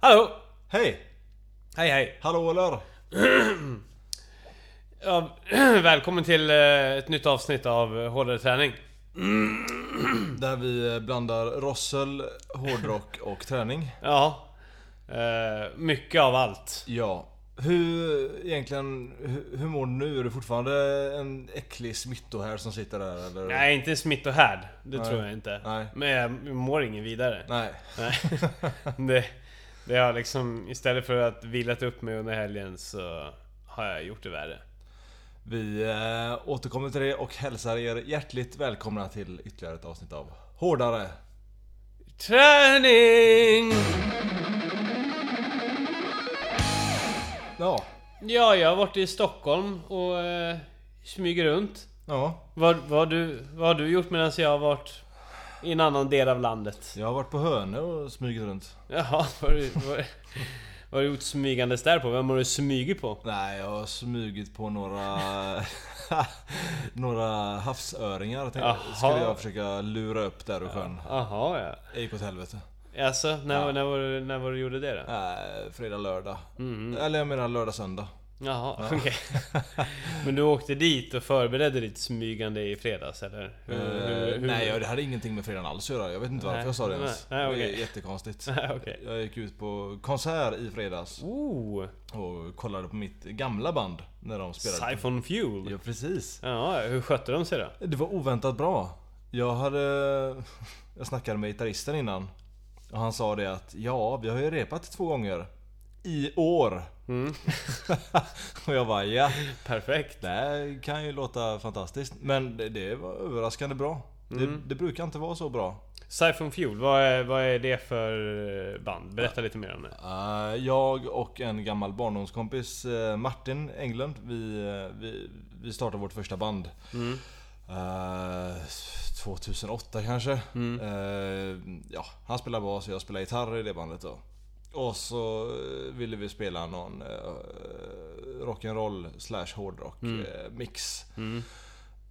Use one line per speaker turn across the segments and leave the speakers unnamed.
Hallå!
Hej!
Hej hej!
Hallå eller?
Ja, välkommen till eh, ett nytt avsnitt av eh, Hårdare Träning.
Där vi eh, blandar rossel, hårdrock och träning.
Ja. Eh, mycket av allt.
Ja. Hur egentligen, hur, hur mår du nu? Är du fortfarande en äcklig smittohärd som sitter där eller?
Nej, inte smitt och härd. Det
Nej.
tror jag inte.
Nej.
Men jag mår ingen vidare.
Nej.
Nej. det, det har liksom, istället för att vilat upp mig under helgen så har jag gjort det värre.
Vi eh, återkommer till det och hälsar er hjärtligt välkomna till ytterligare ett avsnitt av Hårdare.
Träning!
Ja.
Ja, jag har varit i Stockholm och eh, smyger runt.
Ja.
Vad, vad, har du, vad har du gjort medan jag har varit i en annan del av landet?
Jag har varit på Hönö och smugit runt.
Jaha, vad har du, vad, vad har du gjort smygandes där på? Vem har du smugit på?
Nej, jag har smugit på några... några havsöringar tänkte,
Jaha.
skulle jag försöka lura upp där ur sjön.
Jaha ja.
Det gick åt helvete.
Alltså, när, när, var, du- när var du gjorde det då?
Äh, fredag, lördag.
Mm.
Eller jag menar lördag, söndag.
Jaha, okej. Men du åkte dit och förberedde ditt smygande i fredags eller? Hur,
Eh, Nej, jag- det hade ingenting med fredagen alls att göra. Jag vet inte varför
Nej.
jag sa det ens.
Nej, nej,
Det är
okej.
jättekonstigt.
Okej.
Jag gick ut på konsert i fredags
Oh!
och kollade på mitt gamla band när de spelade.
Siphon Fuel!
Ja, precis.
Ja, hur skötte de sig då?
Det var oväntat bra. Jag hade... Jag snackade med gitarristen innan. Och han sa det att ja, vi har ju repat två gånger. I år.
Mm.
och jag bara ja.
Perfekt!
Det här kan ju låta fantastiskt. Men det, det var överraskande bra. Det, det brukar inte vara så bra.
Siphon Fuel, vad är, vad är det för eh, band? Berätta lite mer om det.
Eh, jag och en gammal barndomskompis, eh, Martin Englund, vi, eh, vi, vi startade vårt första band. Eh, 2008 kanske. Eh, ja, han spelar bas och jag spelar gitarr i det bandet då. Och så eh, ville vi spela någon eh, rock'n'roll slash hårdrock eh, mix.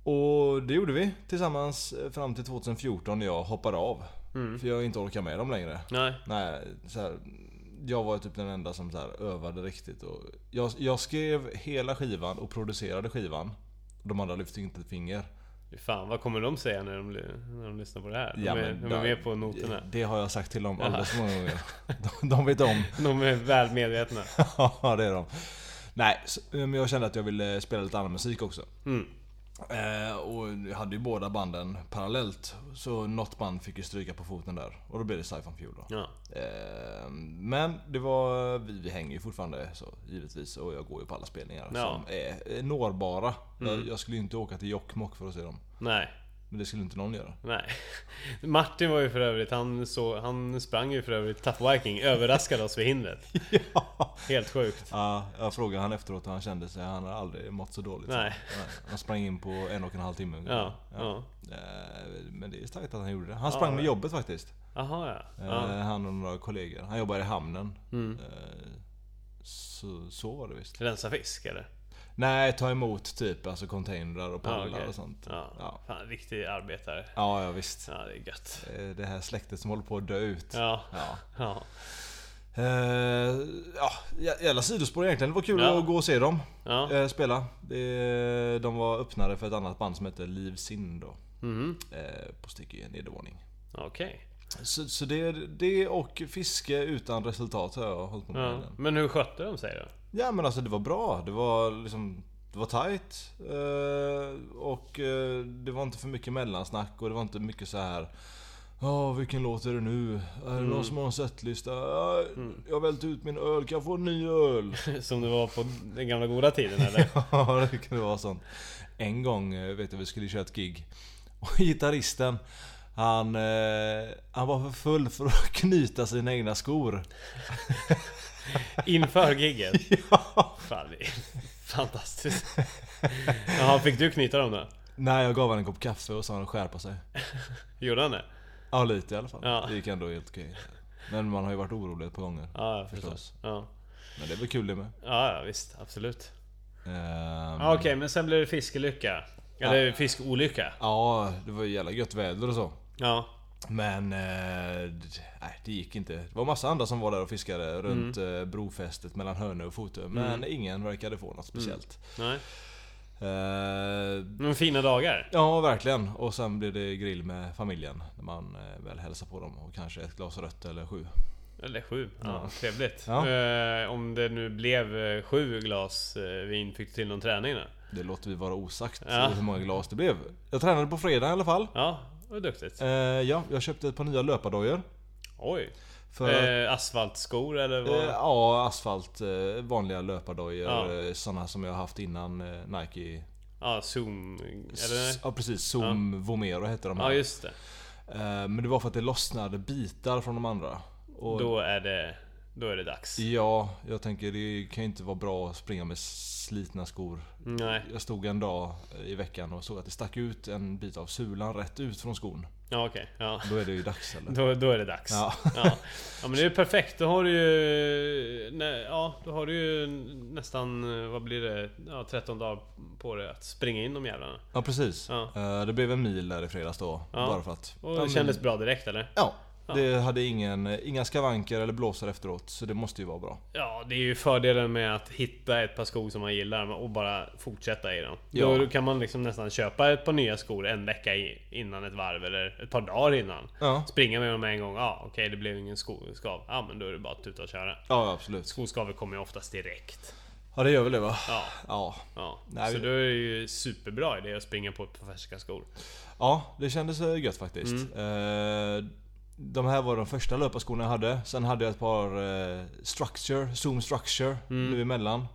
Och det gjorde vi tillsammans eh, fram till 2014 när jag hoppade av. För jag inte orkar med dem längre.
Nej.
Nej, så här, jag var typ den enda som så här, övade riktigt. Och jag, jag skrev hela skivan och producerade skivan. De andra lyfte inte ett finger.
Fy Fan, vad kommer de säga när de, när de lyssnar på det här? De, är,
Ja, men
de är
där-
med på noterna.
Det har jag sagt till dem alldeles för många gånger. De, de vet om.
De är väl medvetna.
ja, det är de. Nej, så, men jag kände att jag ville spela lite annan musik också.
Mm.
Eh, och jag hade ju båda banden parallellt. Så något band fick ju stryka på foten där. Och då blev det Siphon Fuel då.
Ja.
Eh, Men det var, vi, vi hänger ju fortfarande så givetvis och jag går ju på alla spelningar
Ja. Mm.
som är eh, nårbara. Jag, jag skulle ju inte åka till Jokkmokk för att se dem.
Nej,
Men det skulle inte någon göra.
nej. Martin var ju för övrigt, han, så, han sprang ju för övrigt Tough Viking, överraskade oss vid hindret.
ja.
Helt sjukt.
Ja, jag frågade han efteråt hur han kände sig. Han har aldrig mått så dåligt.
Nej.
Han sprang in på en och en halv timme ungefär.
Ja, ja.
Eh, Men det är starkt att han gjorde det. Han sprang med jobbet faktiskt.
Jaha ja.
Eh,
ja. Mm.
Han och några kollegor. Han jobbar i hamnen. Eh, Så, så var det visst.
Rensa fisk eller?
Nej, ta emot typ alltså containrar och
Ja,
pallar
okej.
och sånt.
Ja.
Ja.
Fan, riktig arbetare.
Ja, ja visst.
Ja, det är gött.
Eh, Det här släktet som håller på att dö ut.
Ja.
Ja.
Ja.
Eh, ja, jä- jävla sidospår egentligen. Det var kul
Ja.
att gå och se dem
Ja.
eh, spela. Det, de var öppnare för ett annat band som heter Liv Sin då.
Mhm.
Eh, på Sticky nedervåning.
Okej.
Så, så det, det och fiske utan resultat har jag hållit på med.
Ja.
Ja.
Men hur skötte de sig då?
ja men alltså det var bra. Det var liksom det var tight eh, och eh, det var inte för mycket mellansnack och det var inte mycket så här Ja, vilken låt är det nu? Är det någon som har en setlista? Ja, Jag har vält ut min öl, kan jag få en ny öl?
Som det var på den gamla goda tiden eller?
Ja, det kan vara sånt. En gång eh, vet jag, vi skulle köra ett gig. Och gitarristen, han, eh, han var för full för att knyta sina egna skor.
Inför gigget?
Ja.
Fan, det är fantastiskt. Jaha, fick du knyta dem då?
Nej, jag gav honom en kopp kaffe och sa han att skärpa sig.
Gjorde han det?
Ja, lite i alla fall.
Ja.
Det gick ändå helt okej. Men man har ju varit orolig ett par gånger.
Ja, jag förstår.
Förstås.
Ja.
Men det är väl kul det med.
Ja, ja, visst. Absolut.
Ehm,
Ja, Okej, men sen blev det fiskelycka. Eller fiskolycka.
Ja, det var ju jävla gött väder och så.
Ja.
Men eh, d- nej, det gick inte. Det var massa andra som var där och fiskade runt
Mm.
eh, brofästet mellan Hönö och Fotö. Men ingen verkade få
Mm.
något speciellt.
Nej.
Eh,
Men fina dagar.
ja, verkligen. Och sen blev det grill med familjen. När man eh, väl hälsar på dem. Och kanske ett glas rött eller sju.
Eller sju. Ja,
Ja.
Trevligt.
Ja.
Eh, om det nu blev eh, sju glas eh, vin, fick du till någon träning då?
Det låter vi vara osagt
Ja.
hur många glas det blev. Jag tränade på fredag i alla fall.
Ja, det var duktigt.
Eh, ja, jag köpte ett par nya löpardojor.
Oj.
För att-
Eh, asfaltskor eller vad?
Eh, Ja, asfalt, eh, vanliga löpardojor.
Ja.
Ja. Sådana som jag har haft innan eh, Nike.
Ja, zoom... Eller?
S- Ja precis, Zoom Vomero hette de här.
Ja, just det.
Eh, Men det var för att det lossnade bitar från de andra. Och
Då är det... Då är det dags.
Ja, jag tänker det kan ju inte vara bra att springa med slitna skor.
Nej.
Jag stod en dag eh, i veckan och såg att det stack ut en bit av sulan rätt ut från skon.
Ja, okej. Ja.
Då är det ju dags eller?
Då, då är det dags.
Ja.
Ja. ja, men det är ju perfekt. Då har du ju... Nej, ja, då har du ju nästan... eh, Vad blir det? Ja, 13 dagar på dig att springa in de jävlarna.
Ja precis.
Ja.
Eh, Det blev en mil där i fredags då.
Ja.
Bara för att...
Och
Ja,
det
men-
kändes bra direkt eller?
Ja. Det hade ingen, inga skavanker eller blåsor efteråt, så det måste ju vara bra.
Ja, det är ju fördelen med att hitta ett par skor som man gillar och bara fortsätta i dem.
Ja.
Då kan man liksom nästan köpa ett par nya skor en vecka i- innan ett varv eller ett par dagar innan.
Ja,
Springa med dem en gång, ja okej det blev ingen skoskav. Ja men då är det bara att tuta och köra.
ja absolut.
Skoskavet kommer ju oftast direkt.
Ja, det gör väl det va?
Ja,
Ja.
ja.
Nej,
Så
vi-
då är det ju superbra idé att springa på ett par färska skor.
Ja, det kändes eh, gött faktiskt. Eh, De här var de första löparskorna jag hade. Sen hade jag ett par eh, Structure, Zoom Structure nu emellan.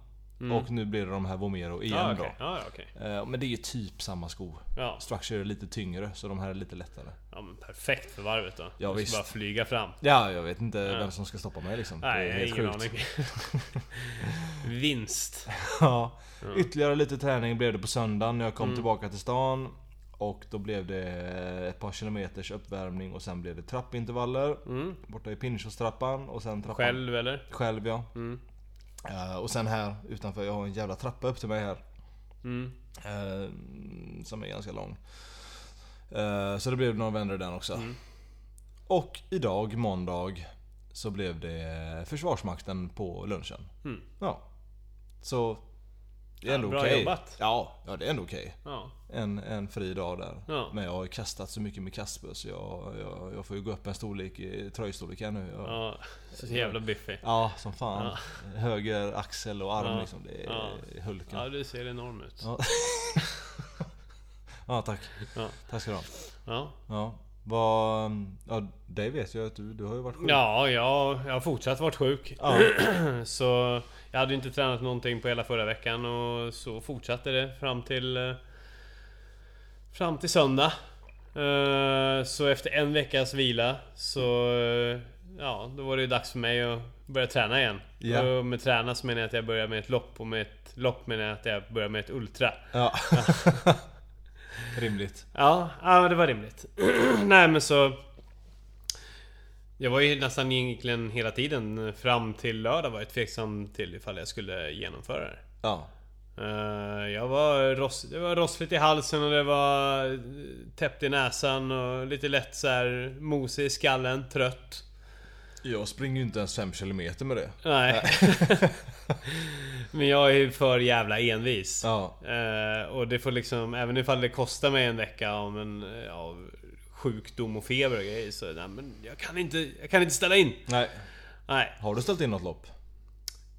Och nu blir det de här Vomero igen
Ja,
då.
okej. Ja, ja, okej.
Eh, Men det är ju typ samma sko.
Ja.
Structure är lite tyngre, så de här är lite lättare.
ja, men perfekt för varvet då.
Ja,
du ska
visst.
bara flyga fram.
Ja, jag vet inte vem som ska stoppa mig liksom.
Nej,
det
jag
är
har
helt
ingen
sjukt.
aning. Vinst.
Ja. Ytterligare lite träning blev det på söndagen när jag
Mm.
kom tillbaka till stan. Och då blev det ett par kilometers uppvärmning och sen blev det trappintervaller. Borta i Pinchos-trappan och sen trappan.
Mm. Själv eller? Mm,
Själv ja. Eh, och sen här utanför, jag har en jävla trappa upp till mig här.
Mm.
eh, som är ganska lång. Eh, så det blev några vändor den också.
Mm.
Och idag, måndag, så blev det Försvarsmakten på lunchen.
Mm.
Ja. Så det är ändå
bra
okej.
jobbat.
Ja, ja, det är ändå okej.
Ja.
En, en fri dag där.
Ja.
Men jag har ju kastat så mycket med kastbö så jag, jag, jag får ju gå upp en storlek i tröjstorlek här nu. Jag,
ja. Så jävla biffig.
Ja, som fan. Höger axel och arm
Ja.
liksom. Det är
Ja.
Hulken.
Ja,
Ja.
du ser enorm ut.
Ja. tack.
Ja.
Tack ska du ha.
Ja,
Ja. Vad... Ja, dig vet jag att du, du har ju varit sjuk.
ja jag, jag har fortsatt varit sjuk.
Ja.
Så jag hade ju inte tränat någonting på hela förra veckan och så fortsatte det fram till... eh, Fram till söndag. Eh, Så efter en veckas vila så... eh, Ja, då var det ju dags för mig att börja träna igen.
Ja.
Och med träna så menar jag att jag börjar med ett lopp och med ett lopp menar jag att jag börjar med ett ultra.
Ja. Rimligt.
Ja, ja det var rimligt. Nej men så... Jag var ju nästan egentligen hela tiden fram till lördag var jag tveksam till ifall jag skulle genomföra det.
Ja.
Eh, Jag var, ross, det var rossligt i halsen och det var eh, täppt i näsan och lite lätt så här mosig i skallen, trött.
Jag springer ju inte ens 5 km med det.
Nej. men jag är ju för jävla envis.
Ja.
Eh, och det får liksom, även ifall det kostar mig en vecka om en, eh, av sjukdom och feber och grejer så nej, men jag kan inte, jag kan inte ställa in.
Nej.
Nej.
Har du ställt in något lopp?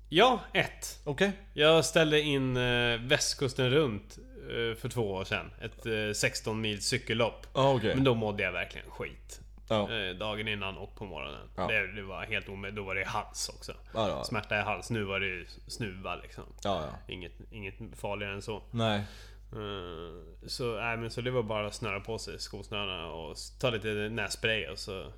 Ja, ett.
Okej.
Jag ställde in eh, västkusten runt eh, för två år sedan. Ett eh, 16 mils cykellopp.
Ja, okej.
Men då mådde jag verkligen skit.
Ja.
Eh, dagen innan och på morgonen.
Ja.
Det, det var helt omöjligt. Då var det hals också.
Ja, ja.
Smärta i hals. Nu var det ju snuva liksom.
Ja, ja.
Inget, inget farligare än så.
Nej.
Eh, Så, nej, men så det var bara att snöra på sig skosnörena och s- ta lite nässpray och så, och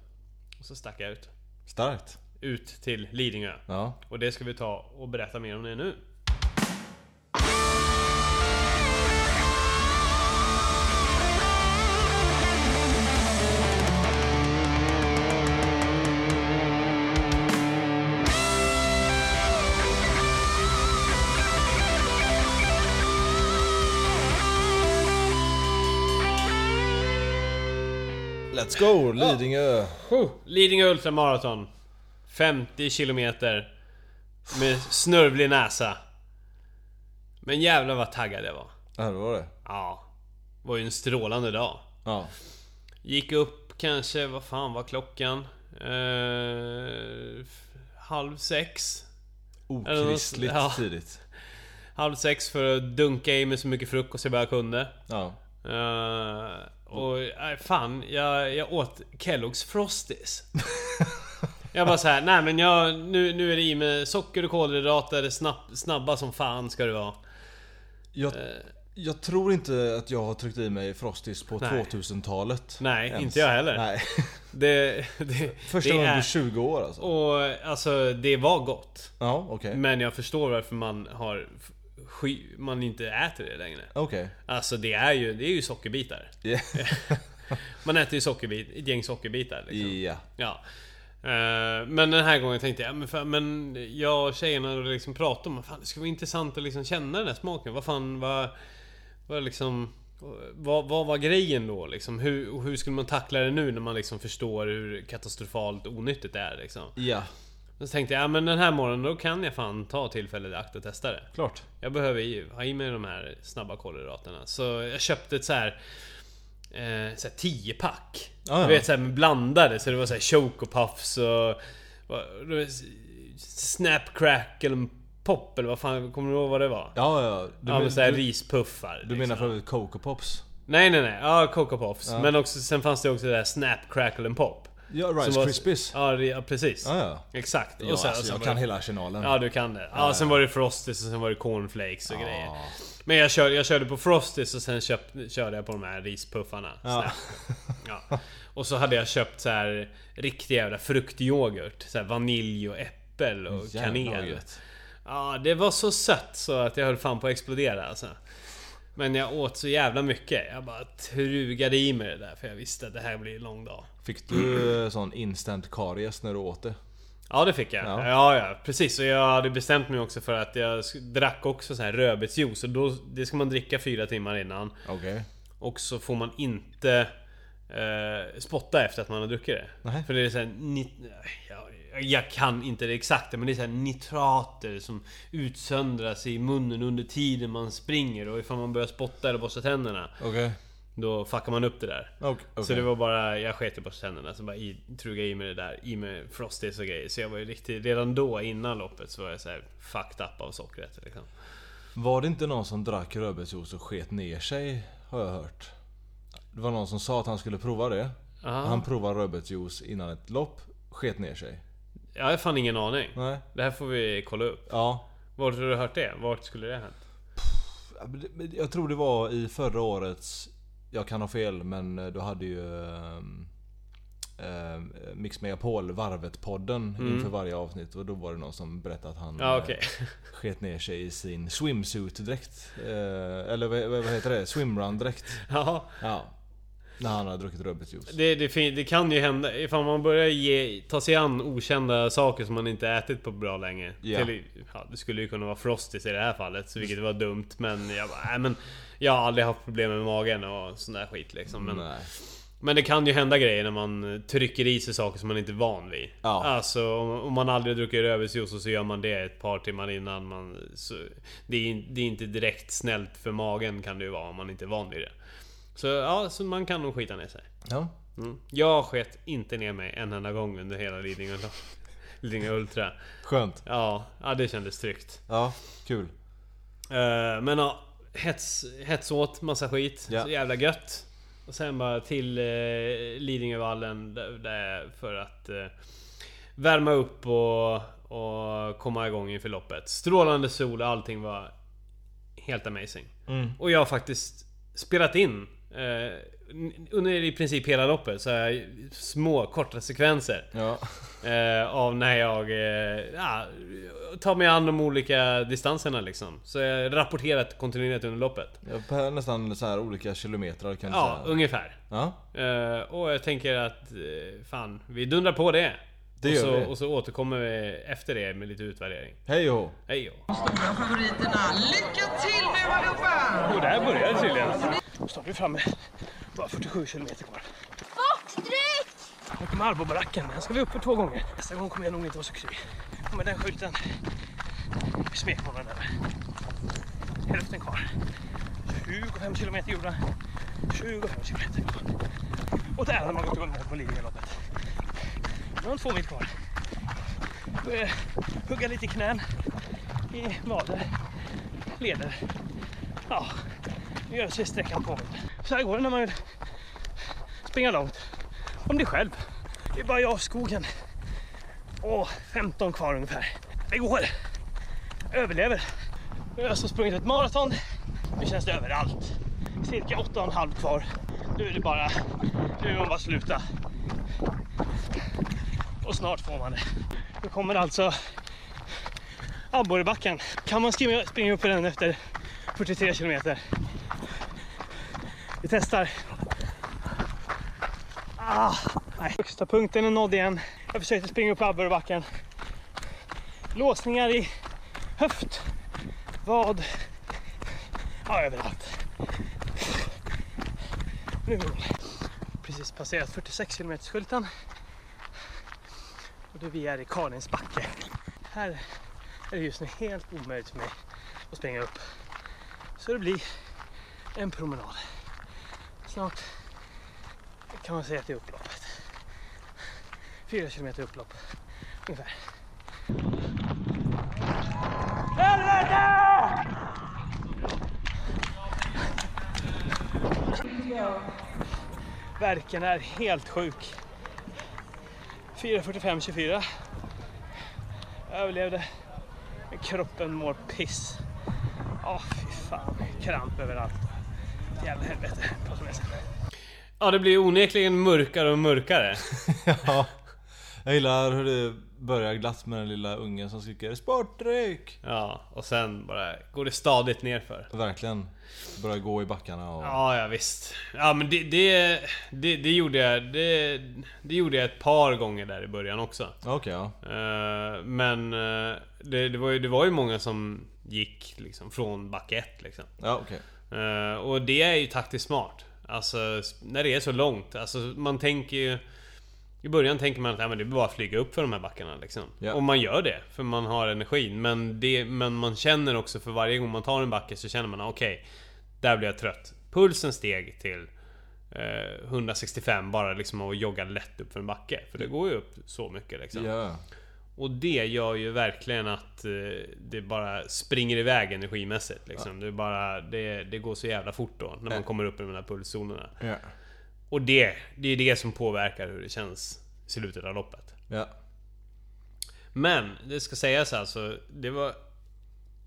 så stack jag ut.
Starkt.
Ut till Lidingö.
Ja.
Och det ska vi ta och berätta mer om det nu.
Let's go Lidingö!
Puh, Lidingö Ultramaraton. 50 kilometer. Med snörvlig näsa. Men jävlar vad taggad jag var.
Ja, det var det.
Ja. Det var ju en strålande dag.
Ja.
Gick upp kanske, vad fan var klockan? Eh, f- halv sex.
Okristligt
Ja.
tidigt.
Halv sex för att dunka i mig så mycket frukost jag bara kunde.
Ja.
Eh, och nej, fan, jag, jag åt Kellogg's Frosties. jag bara så här, nej men jag, nu, nu är det i med socker och kolhydrater, snabb, snabba som fan ska det vara.
Jag, jag tror inte att jag har tryckt i mig Frosties på
Nej.
2000-talet.
Nej,
ens.
inte jag heller.
Nej.
Det, det,
Första
det
gången
är-
på 20 år alltså.
Och Mm. alltså, det var gott.
Ja, okej.
Men jag förstår varför man har f- sky, man inte äter det längre.
Okej.
Alltså det är ju, det är ju sockerbitar. Man äter ju sockerbit, ett gäng sockerbitar liksom.
Ja.
Ja. Eh, Men den här gången tänkte jag, men, fan, men jag och tjejerna liksom pratade om fan, det skulle vara intressant att liksom känna den här smaken. Vad fan, vad... Vad liksom... Vad, vad var grejen då liksom? Hur, och hur skulle man tackla det nu när man liksom förstår hur katastrofalt onyttigt det är liksom?
Ja.
Men Så tänkte jag, ja men den här morgonen då kan jag fan ta tillfället i akt och testa det.
Klart.
Jag behöver ju ha i mig de här snabba kolhydraterna. Så jag köpte ett så här... Eh, så här 10 pack
Ah, Ja, ja.
Du vet så här med blandade, så det var så här choco puffs och... vad- det var s- Snap crackle pop eller vad fan, kommer du ihåg vad det var?
Ja, ja. Du,
ja
men-
men så här
du,
rispuffar. liksom.
du menar för övrigt Coco Pops?
Nej nej nej, ja Coco Puffs. Men också, sen fanns det också det där Snap Crackle and Pop.
Ja,
Som
Rice
var-
Krispies. Ah,
Ja, det- ja precis.
Ja, ja.
Exakt.
Ja,
sen-
alltså,
sen
jag
var
kan
det-
hela arsenalen.
Ja du kan det. Ja, sen var det Frosties och sen var det cornflakes och grejer. Men jag körde, jag körde på Frosties och sen köpt, körde jag på de här rispuffarna.
Ja.
Snap. Ja. Och så hade jag köpt så här riktig jävla fruktyoghurt. Så här vanilj och äppel och
Jävlar, vad
kanel.
gött.
Ja, det var så sött så att jag höll fan på att explodera alltså. Men jag åt så jävla mycket. Jag bara trugade i mig det där för jag visste att det här blir en lång dag.
Fick du eh, sån instant karies när du åt det?
Ja det fick jag.
Ja.
Ja. ja precis. Och jag hade bestämt mig också för att jag sk- drack också så här rödbetsjuice. Och då, det ska man dricka fyra timmar innan.
Okej.
Och så får man inte eh, spotta efter att man har druckit det.
Nej.
För det är så här, nit- jag, jag kan inte det exakta men det är så här nitrater som utsöndras i munnen under tiden man springer. Och ifall man börjar spotta eller borsta tänderna.
Okej.
Då fuckar man upp det där.
Okej,
Så
okej.
det var bara, jag sket i borsta tänderna, så bara i, trugade i mig det där, i mig Frosties och grejer. Så jag var ju riktigt, redan då innan loppet så var jag så här fucked up av sockret liksom.
Var det inte någon som drack rödbetsjuice och sket ner sig? Har jag hört. Det var någon som sa att han skulle prova det. Han provade rödbetsjuice innan ett lopp. Sket ner sig.
Jag har fan ingen aning.
Nej.
Det här får vi kolla upp.
Ja.
Vart har du hört det? Vart skulle det ha hänt?
Ja, men det- men Jag tror det var i förra årets... Jag kan ha fel men eh, du hade ju... ehm, ehm, Mix Megapol, Varvet-podden inför varje avsnitt och då var det någon som berättade att han
Ja
eh,
okej.
sket ner sig i sin swimsuit-dräkt. Eh, Eller vad, vad vad heter det? Swimrun-dräkt.
ja,
Ja. När han hade druckit rödbetsjuice.
det, det, fin- det kan ju hända. Ifall man börjar ge, ta sig an okända saker som man inte ätit på bra länge.
Ja.
Till, ja, det skulle ju kunna vara Frosties i det här fallet, så vilket var dumt. Men jag bara, nej, men jag har aldrig haft problem med magen och sån där skit liksom. Men,
Nej.
Men det kan ju hända grejer när man trycker i sig saker som man inte är van vid.
Ja.
Alltså om, om man aldrig druckit rödbetsjuice och så gör man det ett par timmar innan man... Så, det, är, in- det är inte direkt snällt för magen kan det ju vara om man inte är van vid det. Så ja, så man kan nog skita ner sig.
Ja.
Mm. Jag sket inte ner mig en enda gång under hela Lidingö, Lidingö Ultra.
Skönt.
Ja, ja, det kändes tryggt.
Ja, kul.
Eh, men ja, hets, hets åt, massa skit.
Ja.
Så jävla gött. Och sen bara till eh, Lidingövallen där, där för att eh, värma upp och, och komma igång inför loppet. Strålande sol och allting var helt amazing. Och jag har faktiskt spelat in eh, n- under i princip hela loppet så har jag små korta sekvenser.
Ja.
Eh, av när jag eh, ja, tar mig an de olika distanserna liksom. Så jag rapporterat kontinuerligt under loppet.
Ja, på Nästan så här olika kilometrar kan du
Ja,
säga.
ungefär.
Ja.
Eh, och jag tänker att eh, fan, vi dundrar på det.
Det
och,
gör
så,
vi.
och så återkommer vi efter det med lite utvärdering.
Hej och hå.
Hej då.
stora favoriterna. Lycka till nu allihopa!
Och där börjar det tydligen. Snart är vi framme. Bara 47 kilometer kvar.
Bort!
Marbobaracken, den ska vi upp för två gånger. Nästa gång kommer jag nog inte vara så kry. Och med den skylten smeker man den över. Hälften kvar. 25 kilometer gjorda. 25 kilometer gjorda. Och där har man gått undan på Lidingöloppet. Nu har man två mil kvar. Eh, Hugga lite i knän, i vader, leder. Ja, nu gör sig sträckan påmind. Så här går det när man vill springa långt. Om det är själv. Det är bara jag och skogen. Åh, 15 kvar ungefär. Det går. Överlever. Nu har jag så sprungit ett maraton. Nu känns det överallt. Cirka 8,5 kvar. Nu är det bara... Nu är man bara sluta. Och snart får man det. Nu kommer alltså abborrebacken. Kan man skriva- springa upp för den efter 43 kilometer? Vi testar. Ah, nej. Högsta punkten är nådd igen. Jag försökte springa upp abborrebacken. Låsningar i höft, vad, Ja, överallt. Nu går vi. Precis passerat 46 km skylten. Och då vi är i Karins backe. Här är det just nu helt omöjligt för mig att springa upp. Så det blir en promenad. Snart kan man säga att det är upploppet. Fyra kilometer upplopp ungefär. Helvete! Verken är helt sjuk. 4.45-24. Jag överlevde. Men kroppen mår piss. Ja, fy fan. Kramp överallt. Jävla helvete. Prata med sen.
Ja, det blir onekligen mörkare och mörkare.
Ja. Jag gillar hur det börjar glatt med den lilla ungen som skriker Sportdryck!
Ja, och sen bara går det stadigt nerför.
Verkligen. Börjar gå i backarna och...
Ja, ja visst. Ja, men det, det, det, det gjorde jag... Det, det gjorde jag ett par gånger där i början också.
Okej, ja.
Eh, men eh, det, det, var ju, det var ju många som gick liksom från back 1 liksom.
Ja, okej.
Eh, och det är ju taktiskt smart. Alltså s- när det är så långt. Alltså man tänker ju... I början tänker man att ja, men det är bara att flyga upp för de här backarna liksom.
Ja.
Och man gör det, för man har energin. Men, det, men man känner också för varje gång man tar en backe så känner man okej, där blir jag trött. Pulsen steg till eh, 165 bara liksom av att jogga lätt upp för en backe. För det går ju upp så mycket liksom.
Ja.
Och det gör ju verkligen att eh, det bara springer iväg energimässigt. Liksom. Det, är bara, det, det går så jävla fort då, när man kommer upp i de här pulszonerna.
Ja.
Och det, det är det som påverkar hur det känns i slutet av loppet.
Ja.
Men, det ska sägas alltså, det var...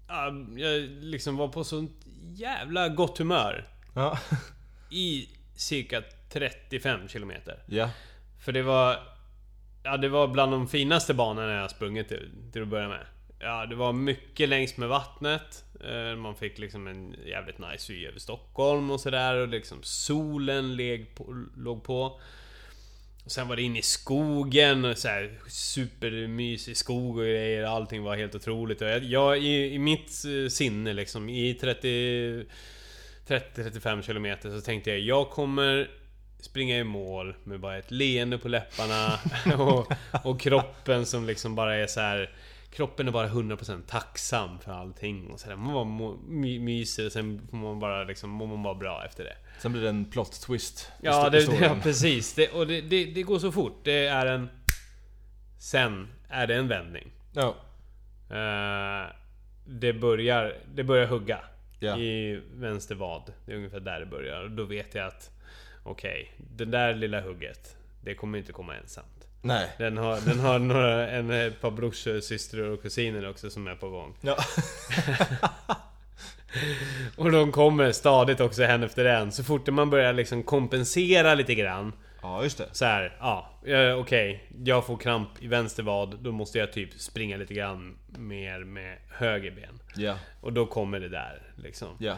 ja, Jag liksom var på sånt jävla gott humör
Ja.
i cirka 35 kilometer.
Ja.
För det var... Ja, det var bland de finaste banorna jag sprungit till, till att börja med. Ja, det var mycket längs med vattnet. Eh, Man fick liksom en jävligt nice vy över Stockholm och sådär. Och liksom solen leg på, låg på. Och sen var det in i skogen och så här supermysig skog och grejer. Allting var helt otroligt. Och jag, jag i, i mitt eh, sinne liksom, i 30... 30-35 kilometer så tänkte jag, jag kommer springa i mål med bara ett leende på läpparna och, och kroppen som liksom bara är så här. Kroppen är bara 100% tacksam för allting och så där. Man bara må- my- myser och sen får man bara liksom, mår man bara bra efter det.
Sen blir det en plot twist. i
Ja,
sto-
det, det,
storyn.
ja precis. Det, och det, det, det går så fort. Det är en... Sen är det en vändning.
ja.
Eh, det, börjar, det börjar hugga
Ja.
i vänster vad. Det är ungefär där det börjar. Och då vet jag att okej, det där lilla hugget, det kommer inte komma ensamt.
Nej.
Den har, den har några, en, ett par brorsor, systrar och kusiner också som är på gång.
Ja.
Och de kommer stadigt också en efter en. Så fort man börjar liksom kompensera lite grann
ja, just det.
så här, ja, eh, okej, jag får kramp i vänster vad, då måste jag typ springa lite grann mer med höger ben.
Ja.
Och då kommer det där liksom.
Ja.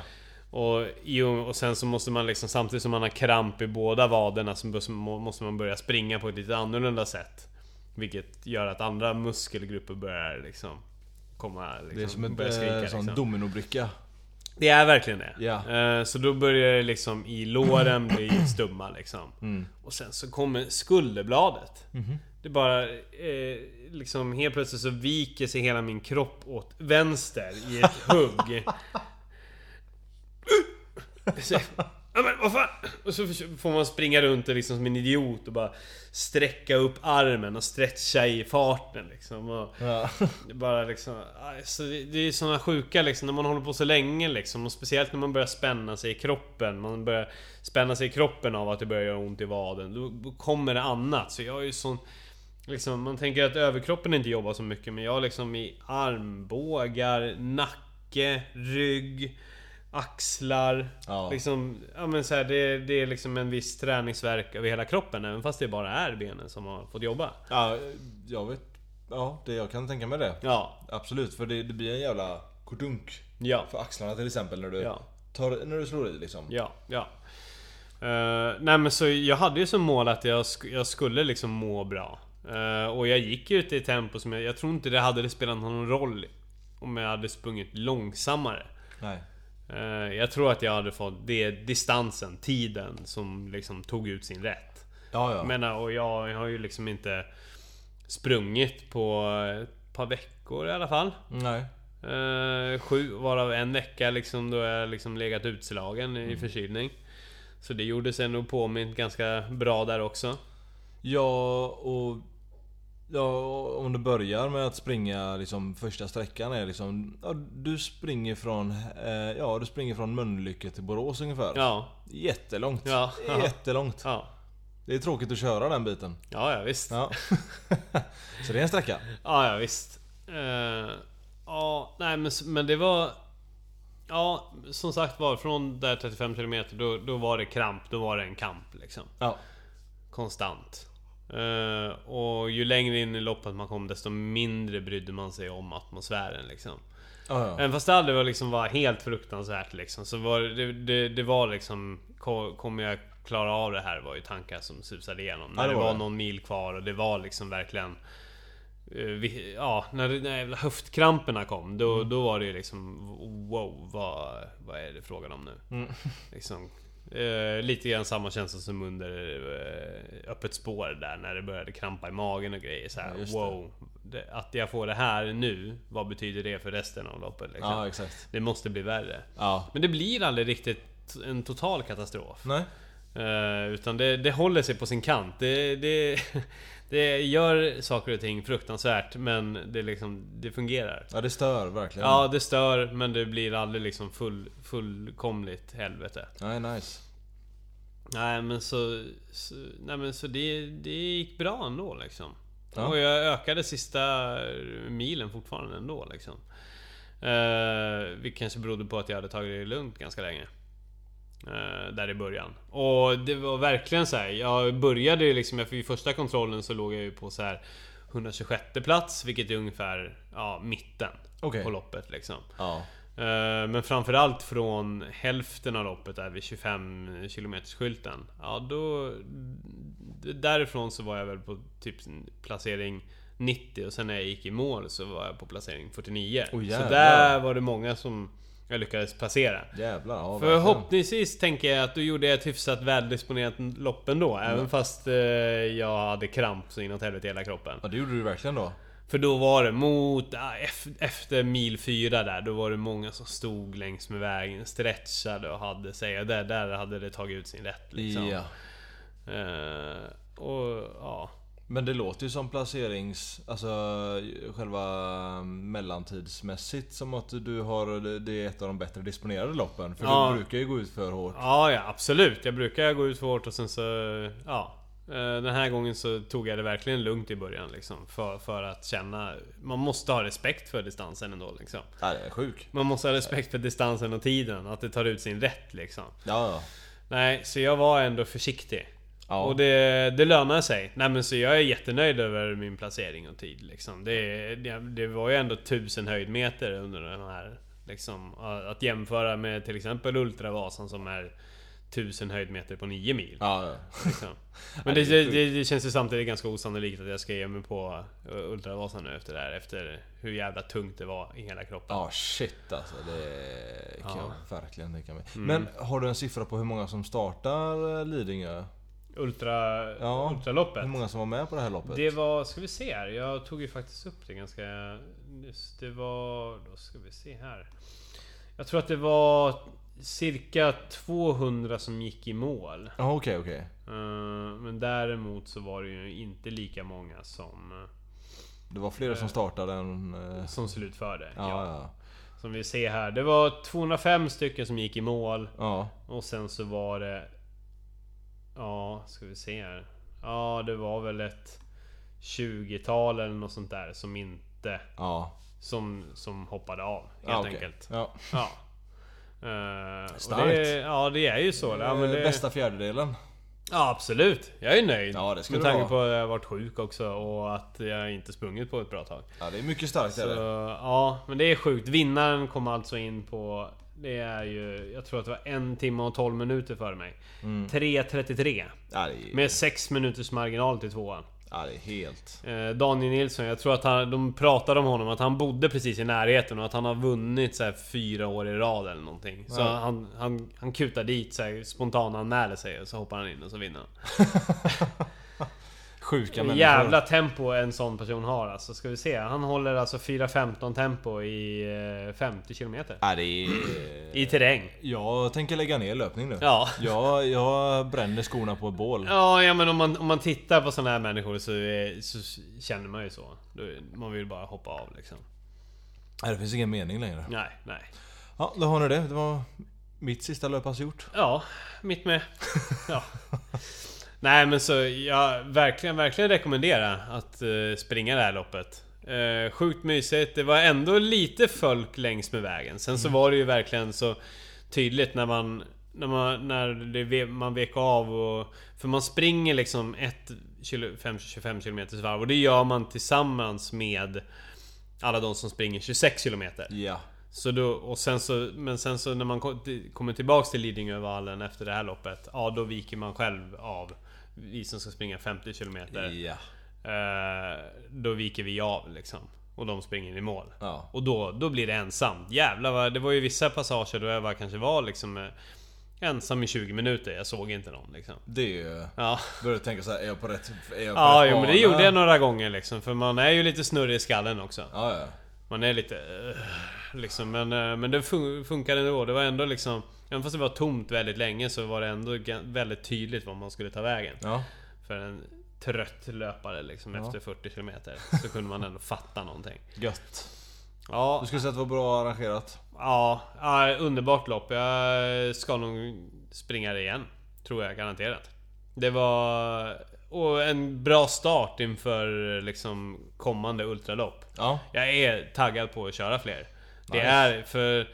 Och, i och- och sen så måste man liksom, samtidigt som man har kramp i båda vaderna så bör- må- måste man börja springa på ett lite annorlunda sätt. Vilket gör att andra muskelgrupper börjar liksom komma liksom,
Det är som en
börja skrika,
eh, sån
liksom.
dominobricka.
Det är verkligen det.
Ja.
Eh, Så då börjar det liksom i låren bli stumma liksom. Och sen så kommer skulderbladet. Det bara eh, liksom helt plötsligt så viker sig hela min kropp åt vänster i ett hugg. Så, ja, men vad fan? Och så får man springa runt och liksom som en idiot och bara sträcka upp armen och stretcha i farten liksom. Och,
Ja.
det är bara liksom, alltså det det är såna sjuka liksom, när man håller på så länge liksom och speciellt när man börjar spänna sig i kroppen. Man börjar spänna sig i kroppen av att det börjar göra ont i vaden. Då, då kommer det annat. Så jag är ju sån... Liksom, man tänker att överkroppen inte jobbar så mycket men jag har liksom i armbågar, nacke, rygg, axlar.
Ja.
Liksom, ja men så här, det, det är liksom en viss träningsverk över hela kroppen även fast det bara är benen som har fått jobba.
ja, jag vet. Ja, det, jag kan tänka mig det.
Ja,
Absolut, för det, det blir en jävla kodunk.
ja.
För axlarna till exempel när du,
Ja.
tar, när du slår i liksom.
Ja, ja. Eh, nej men så jag hade ju som mål att jag, sk- jag skulle liksom må bra. Eh, och jag gick ju ut i ett tempo som jag, jag tror inte det hade det spelat någon roll om jag hade sprungit långsammare.
Nej.
Eh, jag tror att jag hade fått det distansen, tiden som liksom tog ut sin rätt.
Ja, ja.
Jag menar, och jag har ju liksom inte sprungit på ett par veckor i alla fall.
Nej.
Eh, sju, varav en vecka liksom då jag liksom legat utslagen i förkylning. Så det gjorde sig nog påmint ganska bra där också.
Ja, och... Ja, om du börjar med att springa liksom första sträckan är liksom... Ja, du springer från... Eh, ja, du springer från Mölnlycke till Borås ungefär.
Ja,
Jättelångt.
Ja.
Jättelångt.
ja,
Det är tråkigt att köra den biten.
ja, ja visst. Ja,
Ja. Så det är en sträcka.
ja visst. Eh, ja, nej men, s- men det var... Ja, som sagt var från där 35 km då, då var det kramp, då var det en kamp liksom.
Ja.
Konstant. Eh, och ju längre in i loppet man kom desto mindre brydde man sig om atmosfären liksom.
Ja, ja.
Även fast det aldrig var, liksom var helt fruktansvärt liksom, så var det, det- det, det var liksom ko- Kommer jag klara av det här? var ju tankar som susade igenom. När
Ja,
det
det
var,
var det.
någon mil kvar och det var liksom verkligen eh, vi, Ja, när de jävla höftkramperna kom då,
Mm.
då var det ju liksom Wow, vad, vad är det frågan om nu?
Mm.
Liksom, eh, lite grann samma känsla som under eh, Öppet spår där när det började krampa i magen och grejer så här,
Ja, just det.
Wow, det, att jag får det här nu, vad betyder det för resten av loppet? Liksom?
ja, exakt.
Det måste bli värre.
Ja.
Men det blir aldrig riktigt en total katastrof.
Nej.
Eh, utan det, det håller sig på sin kant. Det, det, det gör saker och ting fruktansvärt men det, liksom, det fungerar.
Ja, det stör verkligen.
Ja, det stör men det blir aldrig liksom full, fullkomligt helvete.
Nej, nice.
Nej men så... så nej men så det, det gick bra ändå liksom.
Ja.
Och jag ökade sista milen fortfarande ändå liksom. Eh, vilket kanske berodde på att jag hade tagit det lugnt ganska länge. Eh, där i början. Och det var verkligen så här. Jag började ju liksom, för i första kontrollen så låg jag ju på så här 126 plats, vilket är ungefär ja, mitten
Okej.
på loppet liksom.
Ja.
Eh, Men framförallt från hälften av loppet där vid 25 km skylten. Ja, då... d- Därifrån så var jag väl på typ en placering 90 och sen när jag gick i mål så var jag på placering 49.
Åh,
så
jävlar.
där var det många som jag lyckades placera.
Jävlar. Ja, verkligen.
Förhoppningsvis tänker jag att du gjorde ett hyfsat väldisponerat lopp ändå.
Mm.
Även fast eh, jag hade kramp så inåt helvete i hela kroppen.
Ja, det gjorde du verkligen då.
För då var det mot, ah, ef- efter mil fyra där, då var det många som stod längs med vägen, stretchade och hade sig. Och där, där hade det tagit ut sin rätt liksom.
Ja.
Eh, och ja.
Men det låter ju som placerings... Alltså själva mm, mellantidsmässigt som att du har... Det är ett av de bättre disponerade loppen. För
Ja.
du brukar ju gå ut för hårt.
ja, ja absolut. Jag brukar gå ut för hårt och sen så, ja. Eh, Den här gången så tog jag det verkligen lugnt i början liksom. För, för att känna, man måste ha respekt för distansen ändå liksom.
Ja, det är sjuk.
Man måste ha respekt för distansen och tiden, att det tar ut sin rätt liksom.
Ja, ja.
Nej, så jag var ändå försiktig.
Ja.
Och det, det lönar sig. Nej men så jag är jättenöjd över min placering och tid liksom. det, det, det var ju ändå tusen höjdmeter under den här. Liksom, att jämföra med till exempel Ultravasan som är 1000 höjdmeter på 9 mil.
Ja, ja.
Liksom. Men
det
det,
är
det,
sjukt.
det, det känns ju samtidigt ganska osannolikt att jag ska ge mig på eh, Ultravasan nu efter det här. Efter hur jävla tungt det var i hela kroppen.
Ja, shit alltså. Det kan
Ja. Mm.
jag verkligen tänka mig. Men har du en siffra på hur många som startar eh, Lidingö?
Ultra,
Ja.
Ultraloppet.
Hur många som var med på det här loppet?
Det var, ska vi se här. Jag tog ju faktiskt upp det ganska nyss. Det var, då ska vi se här. Jag tror att det var cirka 200 som gick i mål.
Ja, okej, okej.
Eh, Men däremot så var det ju inte lika många som, eh,
Det var fler som startade än... eh,
som slutförde.
Ja, ja.
Som vi ser här. Det var 205 stycken som gick i mål.
Ja,
Och sen så var det... Ja, ska vi se här. Ja, det var väl ett 20-tal eller något sånt där som inte...
ja.
Som, som hoppade av helt
ja Ah, okej.
enkelt.
Ja.
Ja. Eh, och
Starkt. Eh,
Det, ja, det är ju så. Ja, men det,
Bästa fjärdedelen.
ja, absolut. Jag är nöjd.
Ja, det ska
Med
du
tanke
vara.
på att jag har varit sjuk också och att jag inte sprungit på ett bra tag.
Ja, det är mycket starkt är
Så,
det.
ja, men det är sjukt. Vinnaren kom alltså in på... Det är ju... Jag tror att det var en timme och 12 minuter före mig.
Mm.
3.33.
Ja, det är,
Med 6 minuters marginal till tvåan.
ja, det är helt...
Eh, Daniel Nilsson, jag tror att han, de pratade om honom, att han bodde precis i närheten och att han har vunnit så här fyra år i rad eller någonting. Så
Ja.
han, han, han kutar dit, så här, spontananmäler sig och så hoppar han in och så vinner han.
Sjuka människor.
Jävla tempo en sån person har alltså. Ska vi se, han håller alltså 4.15 tempo i eh, 50 km.
Ja, det är...
I terräng.
Jag tänker lägga ner löpning nu.
Ja.
Jag, jag bränner skorna på ett bål.
Ja, ja men om man, om man tittar på såna här människor så, är, så känner man ju så. Då- Man vill bara hoppa av liksom.
Nej, det finns ingen mening längre.
Nej, nej.
Ja, då har ni det. Det var mitt sista löppass gjort.
Ja, mitt med. Ja. Nej men så jag verkligen, verkligen rekommenderar att eh, springa det här loppet. Eh, sjukt mysigt. Det var ändå lite folk längs med vägen. Sen så var det ju verkligen så tydligt när man när man, när det, ve- man vek av och... För man springer liksom ett 25 km varv och det gör man tillsammans med alla de som springer 26 kilometer.
Ja.
Så då, och sen så, men sen så när man kom, till- kommer tillbaks till Lidingövallen efter det här loppet, ja då viker man själv av. Vi som ska springa 50 km.
Ja.
Eh, då viker vi av liksom. Och de springer i mål.
Ja.
Och då, då blir det ensamt. Jävlar vad, det var ju vissa passager då jag bara kanske var liksom eh, ensam i 20 minuter. Jag såg inte någon liksom.
Det är ju...
Ja.
Börjar tänka så här, är jag på rätt... Är jag på
Ja,
rätt
jo, men det
bana?
gjorde jag några gånger liksom. För man är ju lite snurrig i skallen också.
Ja, ja.
Man är lite... eh, Liksom, men, eh, men det fun- funkade ändå. Det var ändå liksom... Även fast det var tomt väldigt länge så var det ändå ga- väldigt tydligt var man skulle ta vägen.
Ja.
För en trött löpare liksom efter 40 km så kunde man ändå fatta någonting.
Gött.
Ja,
Du skulle säga att det var bra arrangerat?
ja, ja, underbart lopp. Jag ska nog springa det igen. Tror jag garanterat. Det var... Och en bra start inför liksom kommande ultralopp.
Ja.
Jag är taggad på att köra fler. Det
Nice.
är för...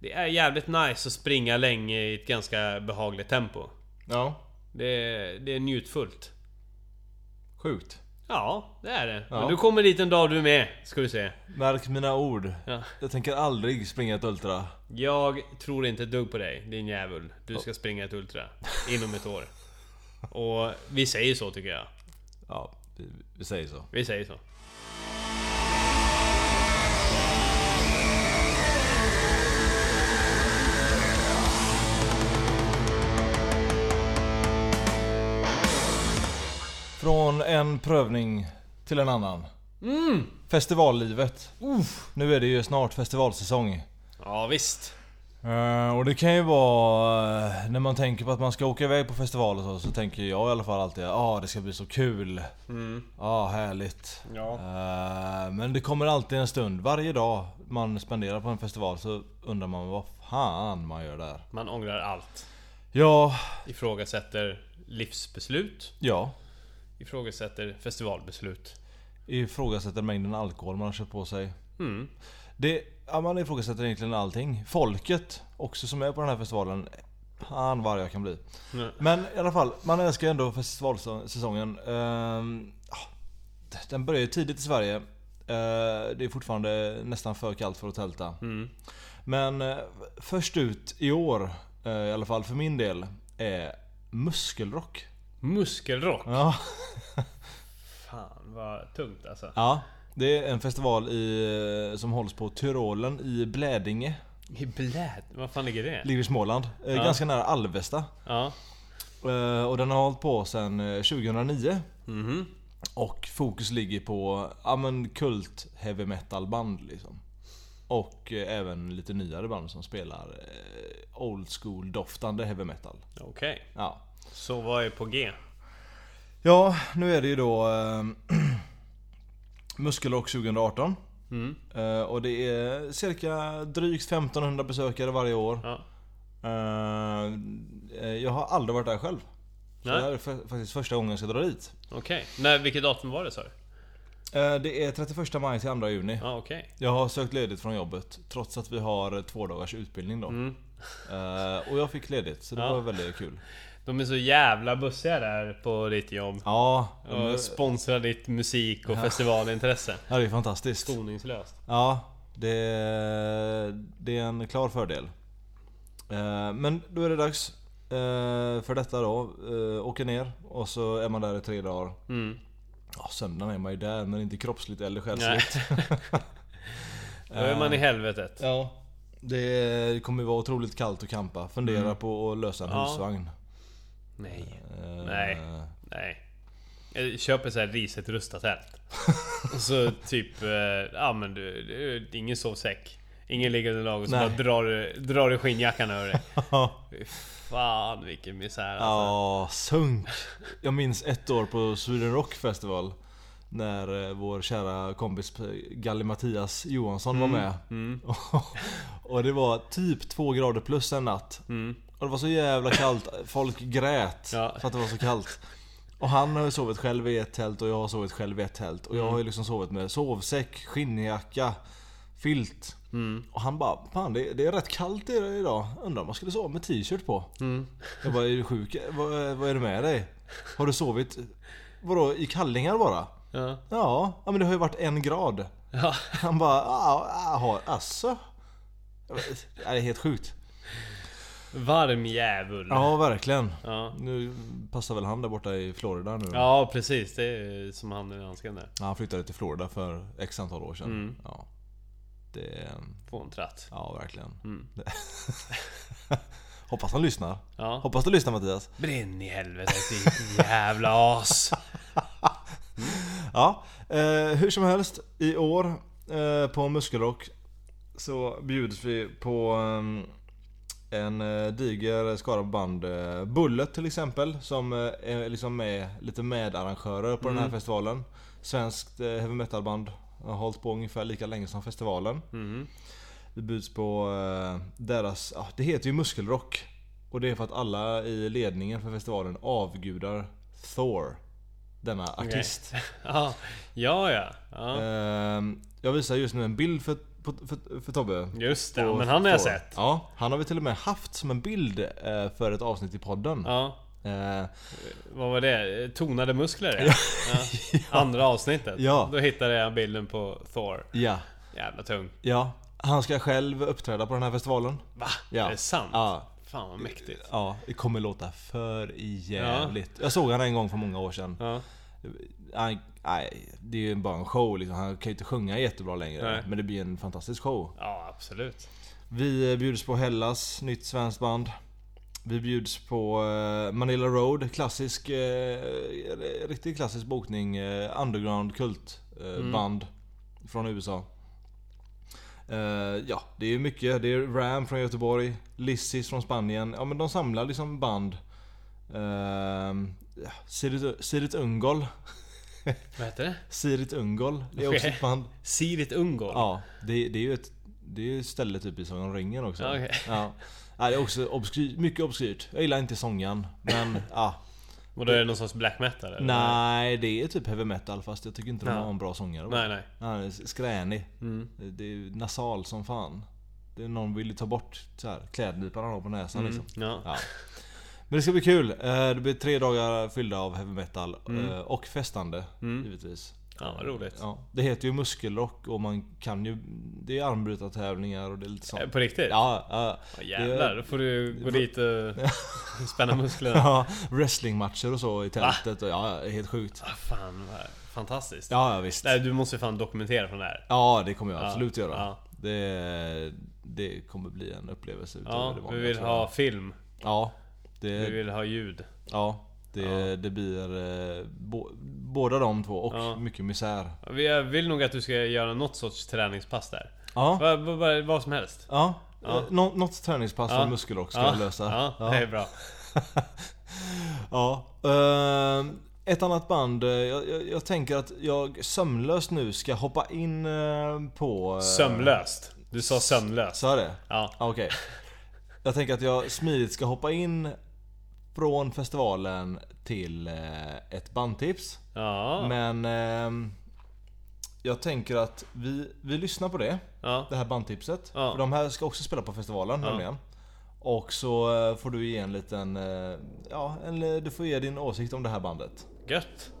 Det är jävligt nice att springa länge i ett ganska behagligt tempo.
Ja.
Det är, det är njutfullt.
Sjukt.
Ja, det är det.
Ja.
Men du kommer dit en dag du med, ska du se.
Märk mina ord.
Ja.
Jag tänker aldrig springa ett Ultra.
Jag tror inte ett dugg på dig, din djävul. Du ska springa ett Ultra. Inom ett år. Och vi säger så tycker jag.
Ja, vi, vi säger så.
Vi säger så.
Från en prövning till en annan. Mm. Festivallivet. Nu är det ju snart festivalsäsong.
Ja, visst.
Eh, och det kan ju vara... eh, när man tänker på att man ska åka iväg på festival och så, så tänker jag i alla fall alltid att ah, det ska bli så kul. Ja, ah, härligt.
Ja.
Eh, men det kommer alltid en stund. Varje dag man spenderar på en festival så undrar man vad fan man gör där.
Man ångrar allt.
Ja,
Ifrågasätter livsbeslut.
ja.
Ifrågasätter festivalbeslut.
Ifrågasätter mängden alkohol man har köpt på sig. Det, ja, man ifrågasätter egentligen allting. Folket också som är på den här festivalen. Han vad arg jag kan bli.
Mm.
Men i alla fall, man älskar ju ändå festivalsäsongen. Ehm, ja, Den börjar ju tidigt i Sverige. Eh, Det är fortfarande nästan för kallt för att tälta. Men eh, först ut i år, eh, i alla fall för min del, är muskelrock.
Muskelrock?
Ja.
Fan vad tungt alltså.
ja. Det är en festival i, eh, som hålls på Tyrolen i Blädinge.
I blät. Vad fan ligger det?
Ligger i Småland. Eh,
Ja.
Ganska nära Alvesta.
Ja.
Eh, Och den har hållit på sedan eh, 2009.
Mhm.
Och fokus ligger på ja, men kult heavy metal band liksom. Och eh, även lite nyare band som spelar eh, old school doftande heavy metal.
Okej.
Ja.
Så vad är på G?
ja, nu är det ju då eh, Muskelrock 2018.
Mm.
Eh, och det är cirka drygt 1500 besökare varje år.
Ja.
Eh, eh, jag har aldrig varit där själv. Så
Nej.
det här är fa- faktiskt första gången jag ska dra dit.
Okej. När, vilket datum var det sa du?
Eh, det är 31 maj till 2 juni.
Ja okej.
Jag har sökt ledigt från jobbet trots att vi har två dagars utbildning då. Eh, och jag fick ledigt så det
Mm. Ja.
var väldigt kul.
De är så jävla bussiga där på ditt jobb.
Ja, de är-
Och sponsrar ditt musik och festivalintresse.
ja det är fantastiskt.
Skoningslöst.
Ja, det, det är en klar fördel. Eh, men då är det dags eh, för detta då. Eh, åker ner och så är man där i tre dagar.
Mm.
Ja, söndagen är man ju där men inte kroppsligt eller
Nej.
själsligt.
Då är man i helvetet.
Ja. Det kommer vara otroligt kallt att campa. Fundera på att lösa en
Mm. Ja.
husvagn.
Nej.
Eh,
Nej. Nej. Jag köper så här riset rustat tält. Och så typ... eh, Ja men du, du ingen sovsäck. Ingen ligger under lag och så
Nej.
bara drar, du- drar du skinnjackan över dig.
Ja.
Fy Fan vilken misär alltså.
Ja, sunk. Jag minns ett år på Sweden Rock Festival. När eh, vår kära kompis Galli Mattias Johansson var med. och det var typ två grader plus en natt. Och det var så jävla kallt. Folk grät
Ja.
för att det var så kallt. Och han har ju sovit själv i ett tält och jag har sovit själv i ett tält. Och jag
Mm.
har ju liksom sovit med sovsäck, skinnjacka, filt.
Mm.
Och han bara, fan det, det är rätt kallt i- idag. Undrar om man skulle sova med t-shirt på.
Mm.
Jag bara, är du sjuk? Vad, vad är det med dig? Har du sovit, vadå i kallingar bara?
Ja.
Ja, ja men det har ju varit en grad.
Ja.
Han bara, "Ah, ah, har asså? Jag bara, "Ja, Det är helt sjukt.
Varm djävul.
Ja, verkligen.
Ja.
Nu passar väl han där borta i Florida nu då?
Ja, precis, det är som handen i handsken där.
Ja, Han flyttade till Florida för x antal år sedan.
Mm.
Ja. Det,
Få en tratt.
ja verkligen.
Mm.
Det- Hoppas han lyssnar.
Ja.
Hoppas du lyssnar Mattias.
Brinn i helvetet ditt jävla as!
Ja, eh, hur som helst. I år eh, på Muskelrock så bjuds vi på eh, en eh, diger skara band. Eh, Bullet till exempel som eh, är liksom med, lite medarrangörer på den här festivalen. Svenskt eh, heavy metal band. Har hållit på ungefär lika länge som festivalen.
Mhm.
Det bjuds på eh, deras, ja, det heter ju muskelrock. Och det är för att alla i ledningen för festivalen avgudar Thor. Denna artist.
Ja, ja, ja. ja.
Ehm, Jag visar just nu en bild för, på- för, för Tobbe.
Just det,
På
ja, men han har jag
Thor.
sett.
Ja, han har vi till och med haft som en bild eh, för ett avsnitt i podden.
Ja,
Eh,
vad var det? Tonade muskler? Ja. Ja. Andra avsnittet.
Ja.
Då hittade jag bilden på Thor.
ja,
Jävla tung.
ja. Han ska själv uppträda på den här festivalen.
Va?
Ja.
Är det sant?
Ja.
Fan vad mäktigt.
Ja, det kommer låta för jävligt. Jag såg han en gång för många år sedan.
Ja.
Han, nej, det är ju bara en show liksom. Han kan ju inte sjunga jättebra längre.
Nej.
Men det blir en fantastisk show.
ja, absolut.
Vi eh, bjuds på Hellas, nytt svenskt band. Vi bjuds på eh, Manila Road, klassisk, eh, r- riktigt klassisk bokning. Eh, underground kultband eh, band från USA. Eh, ja, det är mycket. Det är Ram från Göteborg, Lissis från Spanien. Ja men de samlar liksom band. Eh, ja, Sirit, Sirit Ungol.
Vad heter det?
Sirit Ungol, det är också ett band.
Sirit Ungol.
Ja, det, det är ju ett det är ju ett ställe typ i Sagan om ringen också.
Ja, okej.
Ja. Ja, det är också obskyr, mycket obskyrt. Jag gillar inte sången men ja.
Och då är det någon sorts black metal? Eller?
Nej, det är typ heavy metal fast jag tycker inte de
Mm. Ja.
har en bra sångare.
Nej, Mm. nej.
Han är skränig. Det är ju nasal som fan. Det är någon vill ju ta bort så här, klädnypan han har på näsan
Mm.
liksom.
Ja.
Ja. Men det ska bli
Mm.
kul. Eh, Det blir tre dagar fyllda av heavy metal eh, och festande givetvis.
Ja, vad roligt.
Ja. Det heter ju muskelrock och man kan ju... Det är armbrytartävlingar och det är lite
Eh,
sånt.
På riktigt?
Ja, ja.
Ja, jävlar, då får du gå dit och spänna musklerna.
Ja, wrestlingmatcher och så i tältet. Och, ja, det är helt sjukt.
Ah, fan, vad fantastiskt.
Ja, ja visst.
Nej, du måste fan dokumentera från det här.
Ja, det kommer jag absolut
Ja,
göra.
ja.
Det, det kommer bli en upplevelse utöver det
Ja, vi
vanliga,
vill
tror jag.
ha film.
Ja, det,
Vi vill ha ljud.
ja, det, det blir eh, bo, båda de två och
Ja.
mycket misär.
Jag vill nog att du ska göra något sorts träningspass där.
Ja,
Va, va, va, vad som helst.
ja. Eh, Nå, något träningspass
Ja.
för muskelrock ska
ja,
jag lösa. Eh.
Ja, det är bra.
Ja. ehm, ett annat band, eh, jag, jag, jag tänker att jag sömlöst nu ska hoppa in eh, på... eh,
Sömlöst. Du sa sömlöst.
Så är det?
Ja.
Ah, Okej. Jag tänker att jag smidigt ska hoppa in från festivalen till eh, ett bandtips.
Ja.
Men ehm, jag tänker att vi, vi lyssnar på det.
Ja.
Det här bandtipset.
Ja.
För de här ska också spela på festivalen nämligen. Och så eh, får du ge en liten... eh, Ja, eller du får ge din åsikt om det här bandet.
Gött.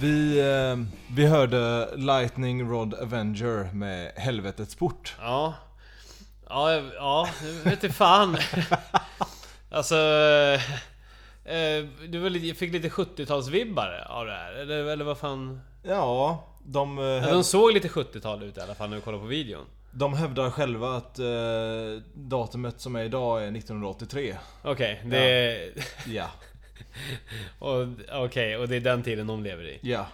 Vi, eh, vi hörde Lightning Rod Avenger med Helvetets port.
Ja. Ja, jag- ja. jag Vet du fan. alltså... eh, Du var lite, fick lite 70-talsvibbar av det här. Eller, eller vad fan?
Ja, de, eh,
Ja, de såg lite 70-tal ut i alla fall när vi kollade på videon.
de hävdar själva att eh, datumet som är idag är 1983.
Okej, det...
Ja,
och Okej, och det är den tiden de lever i.
ja.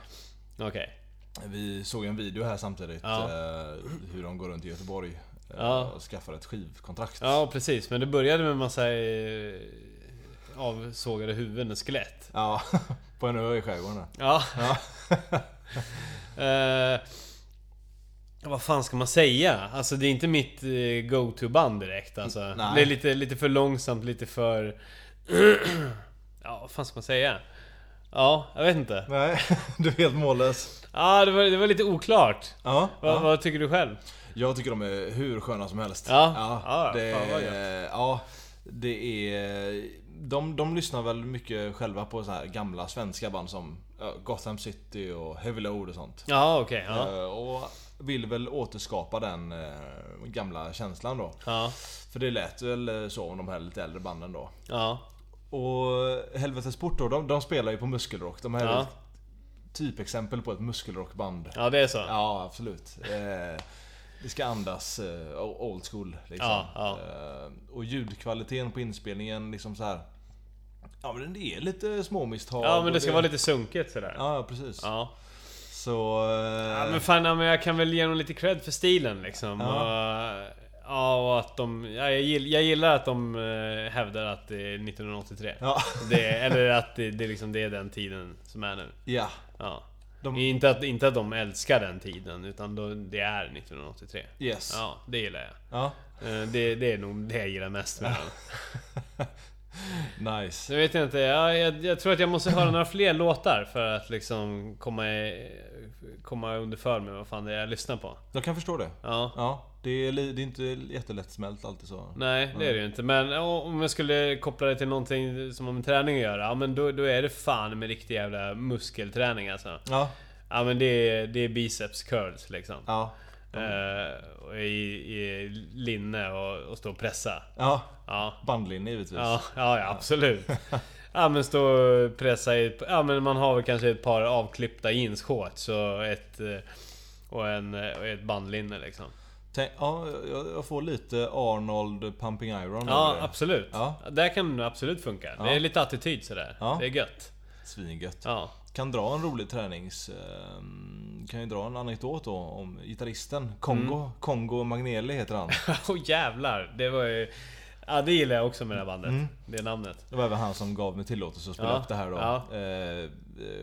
Okej.
Vi såg en video här samtidigt.
Ja.
Eh, hur de går runt i Göteborg eh,
Ja.
och skaffar ett skivkontrakt.
Ja, precis. Men det började med en massa eh, avsågade huvuden och skelett.
Ja, på en ö i skärgården. där.
Ja. Eh, vad fan ska man säga? Alltså det är inte mitt eh, go-to-band direkt alltså.
nej.
Det är lite, lite för långsamt, lite för... ja, vad fan ska man säga? Ja, jag vet inte. Ja,
Nej, du är helt mållös.
ah, det, var, det var lite oklart.
Ja,
Va,
ja.
Vad tycker du själv?
Jag tycker de är hur sköna som helst.
Ja. Ja,
det,
fan vad
ja, det är... De, de lyssnar väl mycket själva på så här gamla svenska band som ja, Gotham City och Heavy Load och sånt.
Ja, okej. ja.
Eh, Och vill väl återskapa den eh, gamla känslan då.
Ja,
För det lät väl eh, så om de här lite äldre banden då.
ja,
Och Helvetes Port då, de, de spelar ju på muskelrock. De här är
Ja.
ett typexempel på ett muskelrockband.
ja, det är så.
Ja, absolut. Eh, Det ska andas eh, o- old school liksom.
Ja, ja.
Eh, och ljudkvaliteten på inspelningen liksom så här. Ja men det är lite småmisstag.
Ja men
och
det ska vara lite sunkigt sådär.
Ja ja, precis.
Ja.
Så... eh,
Ja, men fan, ja, men jag kan väl ge dem lite cred för stilen liksom.
Ja.
Och, ja, och att de... Ja, jag, gill, jag gillar att de eh, hävdar att det är 1983.
ja.
Det, eller att det, det, är liksom, det är den tiden som är nu.
ja.
Ja.
De-
Inte, att, inte att de älskar den tiden, utan då, det är 1983.
Yes.
Ja, det gillar jag.
Ja.
Eh, Det, det är nog det jag gillar mest med den.
Nice.
Så vet jag inte, jag, jag, jag tror att jag måste höra några fler låtar för att liksom komma, i, komma underför med vad fan det är jag lyssnar på.
Jag kan förstå det.
Ja.
Ja. Det är, li- det är inte jättelättsmält alltid så.
Nej, det är det ju inte. Men ja, om jag skulle koppla det till någonting som har med träning att göra, ja men då, då är det fan med riktig jävla muskelträning alltså.
Ja.
Ja men det är, det är biceps curls liksom.
Ja.
Eh, och i, I linne och, och stå och pressa.
Ja.
Ja.
Bandlinje givetvis.
Ja, ja, ja absolut. Ja men stå och pressa i... Ja men man har väl kanske ett par avklippta jeansshorts och ett... eh, Och, en, eh, och ett bandlinne liksom.
Tänk, ja, jag, jag får lite Arnold Pumping Iron
Ja
över det.
absolut.
Ja.
Det kan absolut funka. Det är lite attityd sådär.
Ja.
Det är gött.
Svingött.
Ja.
Kan dra en rolig tränings... ehm, Kan ju dra en anekdot då om gitarristen Kongo.
Mm.
Kongo Magnelli heter han.
Åh jävlar. Det var ju... Ja det gillar jag också med det här bandet.
Mm.
Det namnet.
Det var även han som gav mig tillåtelse att spela
Ja,
upp det här då.
ja.
Eh,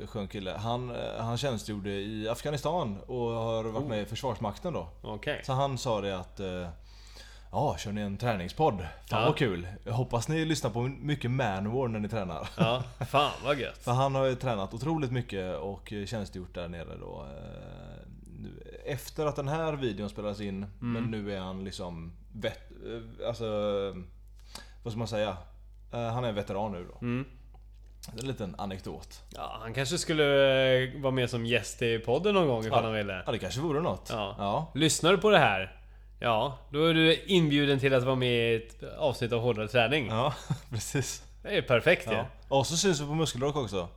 Eh, skön kille. Han, eh, han tjänstgjorde i Afghanistan och har
Oh.
varit med i Försvarsmakten då.
Okej.
Så han sa det att eh, Ja, kör ni en träningspodd? Fan
Ja.
vad kul! Jag hoppas ni lyssnar på mycket Manowar när ni tränar.
Ja, fan vad gött.
För han har ju tränat otroligt mycket och tjänstgjort där nere då. eh, nu- Efter att den här videon spelades in, men
Mm.
nu är han liksom vet, eh, Alltså... Vad ska man säga? Eh, Han är en veteran nu då.
Mm.
En liten anekdot.
Ja, han kanske skulle eh, vara med som gäst i podden någon gång ifall han ville.
Ja, det kanske vore något.
Ja.
ja.
Lyssnar du på det här? Ja, då är du inbjuden till att vara med i ett avsnitt av Hårdare Träning.
Ja, precis.
Det är perfekt ju.
Ja. Och så syns vi på Muskelrock också.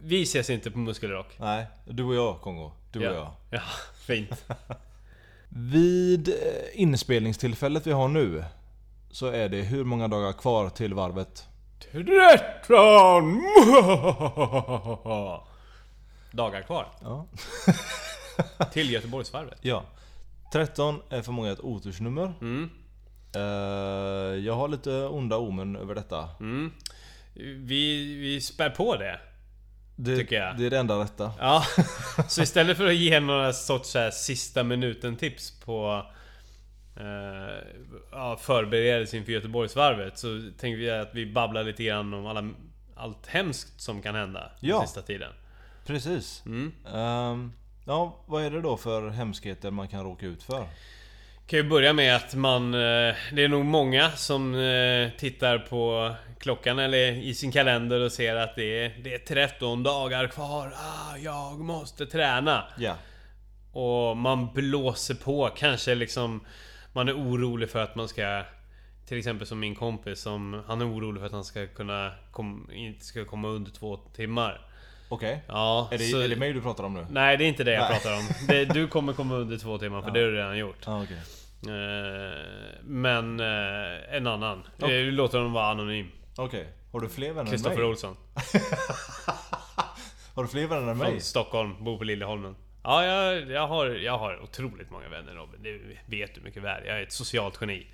Vi ses inte på Muskelrock.
Nej, du och jag Kongo. Du och jag.
ja. ja, fint.
Vid eh, inspelningstillfället vi har nu så är det hur många dagar kvar till varvet?
13! Dagar kvar.
Ja.
Till Göteborgsvarvet.
Ja. 13 är för många ett otursnummer.
Mm.
Eh, jag har lite onda omen över detta.
Mm, Vi, vi spär på det.
Det,
Tycker jag.
det är det enda rätta.
Ja, så istället för att ge några sorts så här sista minuten tips på eh, ja, förberedelse inför Göteborgsvarvet så tänker vi att vi babblar lite grann om alla, allt hemskt som kan hända
Ja.
den sista tiden.
Precis.
Mm.
Ehm, ja, vad är det då för hemskheter man kan råka ut för?
Kan ju börja med att man... eh, Det är nog många som eh, tittar på klockan eller i sin kalender och ser att det är, det är 13 dagar kvar. Ah, jag måste träna.
Ja.
Och man blåser på, kanske liksom... Man är orolig för att man ska... Till exempel som min kompis som... Han är orolig för att han ska kunna... Kom, inte ska komma under två timmar.
Okej.
Ja,
Är, det,
så-
är det mig du pratar om nu?
Nej, det är inte det jag
Nej.
pratar om. Det, du kommer komma under två timmar för det har du redan gjort.
Ja, Ah, okej.
Eh, Men eh, en annan. Eh, Vi låter honom vara anonym.
Okej. Har du fler vänner än
Kristoffer
mig?
Olsson.
Har du fler vänner än
Från
mig?
Stockholm, bor på Liljeholmen. Ja, jag, jag, har, jag har otroligt många vänner Robin. Det vet du mycket väl. Jag är ett socialt geni.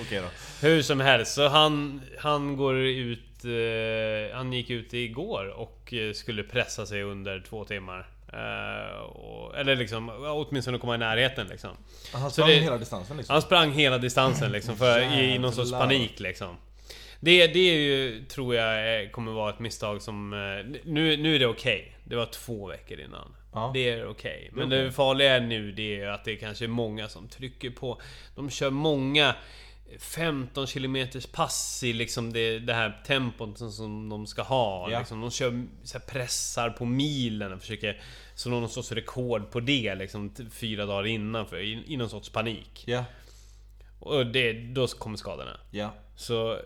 Okej då.
Hur som helst, så han, han går ut... Eh, han gick ut igår och eh, skulle pressa sig under två timmar. Eh, och, eller liksom, ja, åtminstone komma i närheten liksom.
Han
Så
sprang
det- Alltså-
hela distansen liksom?
Han sprang hela distansen liksom, för, i, i någon sorts
Jävlar.
panik liksom. Det, det är ju, tror jag, eh, kommer vara ett misstag som... eh, Nu, nu är det okej. Det var två veckor innan.
Ja.
Det är okej. Men det farliga är nu det är ju att det kanske är många som trycker på. De kör många 15 km pass i liksom det, det här tempot som, som de ska ha.
Ja.
Liksom, de kör så här, pressar på milen och försöker slå någon sorts rekord på det liksom t- fyra dagar innan för, i, i någon sorts panik.
Ja.
Och det, då kommer skadorna.
Ja.
Så eh,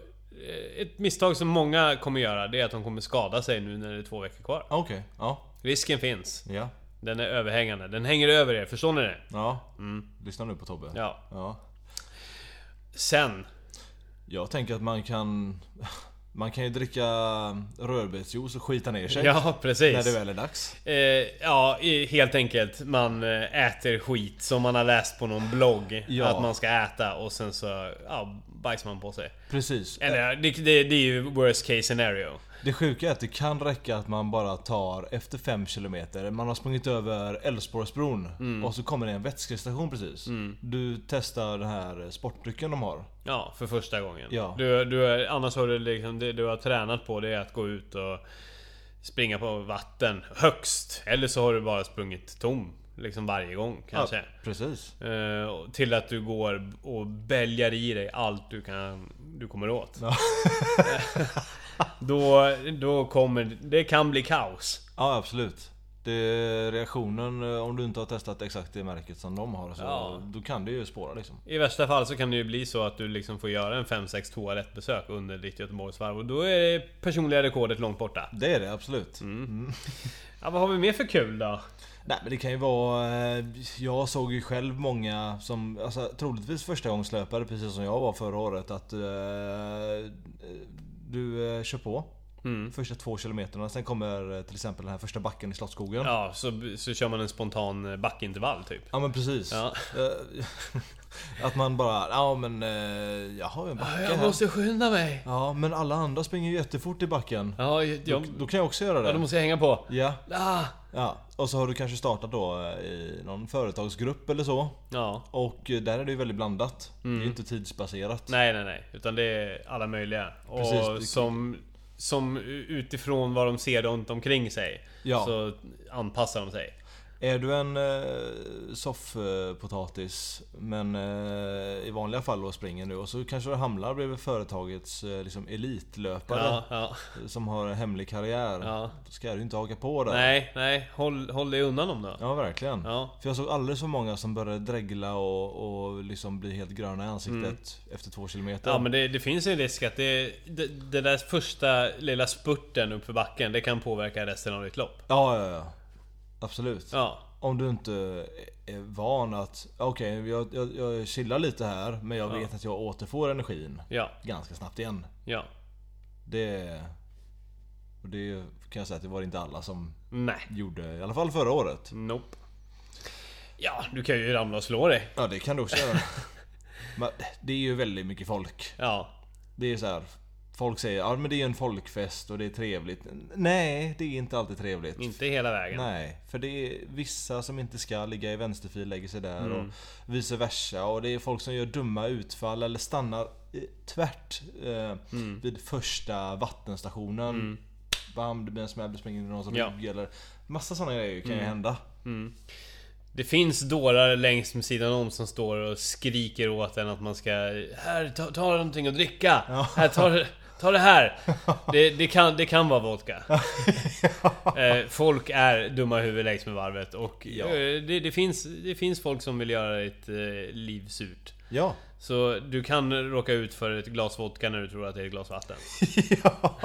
ett misstag som många kommer göra det är att de kommer skada sig nu när det är två veckor kvar.
Okej. Ja.
Risken finns.
Ja.
Den är överhängande. Den hänger över er, förstår ni det?
Ja. Lyssna nu på Tobbe.
Mm. Ja.
ja.
Sen.
Jag tänker att man kan... Man kan ju dricka rödbetsjuice och skita ner sig.
Ja, precis.
När det väl är dags.
Eh, ja, i- helt enkelt. Man eh, äter skit som man har läst på någon blogg
Ja.
att man ska äta och sen så ja, bajsar man på sig.
Precis.
Eller det, det, det är ju worst case scenario.
Det sjuka är att det kan räcka att man bara tar efter 5 km, man har sprungit över Älvsborgsbron
Mm.
och så kommer det en vätskestation precis. Du testar den här sportdrycken de har.
Ja, för första gången.
Ja.
Du, du, annars har du liksom, det du har tränat på det är att gå ut och springa på vatten högst. Eller så har du bara sprungit tom. Liksom varje gång kanske.
Precis.
Eh, och till att du går och bälgar i dig allt du kan du kommer åt. då, då kommer... Det kan bli kaos.
Ja, absolut. Det, reaktionen eh, om du inte har testat exakt det märket som de har så
Ja.
då kan det ju spåra liksom.
I värsta fall så kan det ju bli så att du liksom får göra en 5-6 toalettbesök under ditt Göteborgsvarv och då är det personliga rekordet långt borta.
Det är det absolut.
Ja, vad har vi mer för kul då?
Nej men det kan ju vara... eh, Jag såg ju själv många som... Alltså troligtvis förstagångslöpare precis som jag var förra året att... eh, Du eh, kör på. Första två kilometerna. Sen kommer eh, till exempel den här första backen i Slottsskogen. Ja,
Ja, så, så kör man en spontan backintervall typ.
men precis.
Ja.
Eh, Att man bara... Ja men... eh, Jag har ju en backe här.
Ah, skynda mig!
Ja men alla andra springer ju jättefort i backen.
Ja, jag,
Då, då kan jag också göra det.
ja, då måste jag hänga på.
Ja,
Ah.
ja. Och så har du kanske startat då eh, i någon företagsgrupp eller så.
Ja.
Och eh, där är det ju väldigt blandat. Det är ju inte tidsbaserat.
Mm. Nej, nej, nej. Utan det är alla möjliga.
Precis,
och
det-
som, som utifrån vad de ser runt omkring sig
Ja.
så anpassar de sig.
Är du en eh, soffpotatis men eh, i vanliga fall då springer du och så kanske du hamnar bredvid företagets eh, liksom elitlöpare
Ja, ja.
som har en hemlig karriär.
Ja.
Då ska du ju inte haka på där.
Nej, nej. Håll, håll dig undan dem då.
Ja verkligen.
Ja.
För jag såg alldeles för många som började dregla och, och liksom bli helt gröna i ansiktet efter två kilometer.
Mm. Ja men det, det finns en risk att det, det, det där första lilla spurten uppför backen det kan påverka resten av ditt lopp.
ja, ja, ja. Absolut.
Ja,
Om du inte är van att, okej jag, jag, jag chillar lite här men jag vet att jag återfår energin
ja,
ganska snabbt igen.
ja.
Det... Och det kan jag säga att det var inte alla som
Nej.
gjorde, i alla fall förra året.
Nope. Ja, du kan ju ramla och slå dig.
Ja det kan du också göra. men det är ju väldigt mycket folk.
Ja.
Det är så här. Folk säger ja men det är en folkfest och det är trevligt. Nej, det är inte alltid trevligt.
Inte hela vägen.
Nej, för det är vissa som inte ska ligga i vänsterfil lägger sig där
Mm.
och vice versa. Och det är folk som gör dumma utfall eller stannar i- tvärt eh,
Mm.
vid första vattenstationen. Bam, det blir en smäll, du springer in i någons
Ja. Mm.
rygg eller Massa sådana grejer kan ju hända.
Det finns dårar längs med sidan om som står och skriker åt en att man ska... Här, ta, ta någonting att dricka! Här, ta, ta det här! Det, det, kan, det kan vara vodka. Eh, folk är dumma huvud längs med varvet och
Ja.
eh, det, det, finns, det finns folk som vill göra ett eh, liv surt.
Ja.
Så du kan råka ut för ett glas vodka när du tror att det är ett glas vatten.
ja.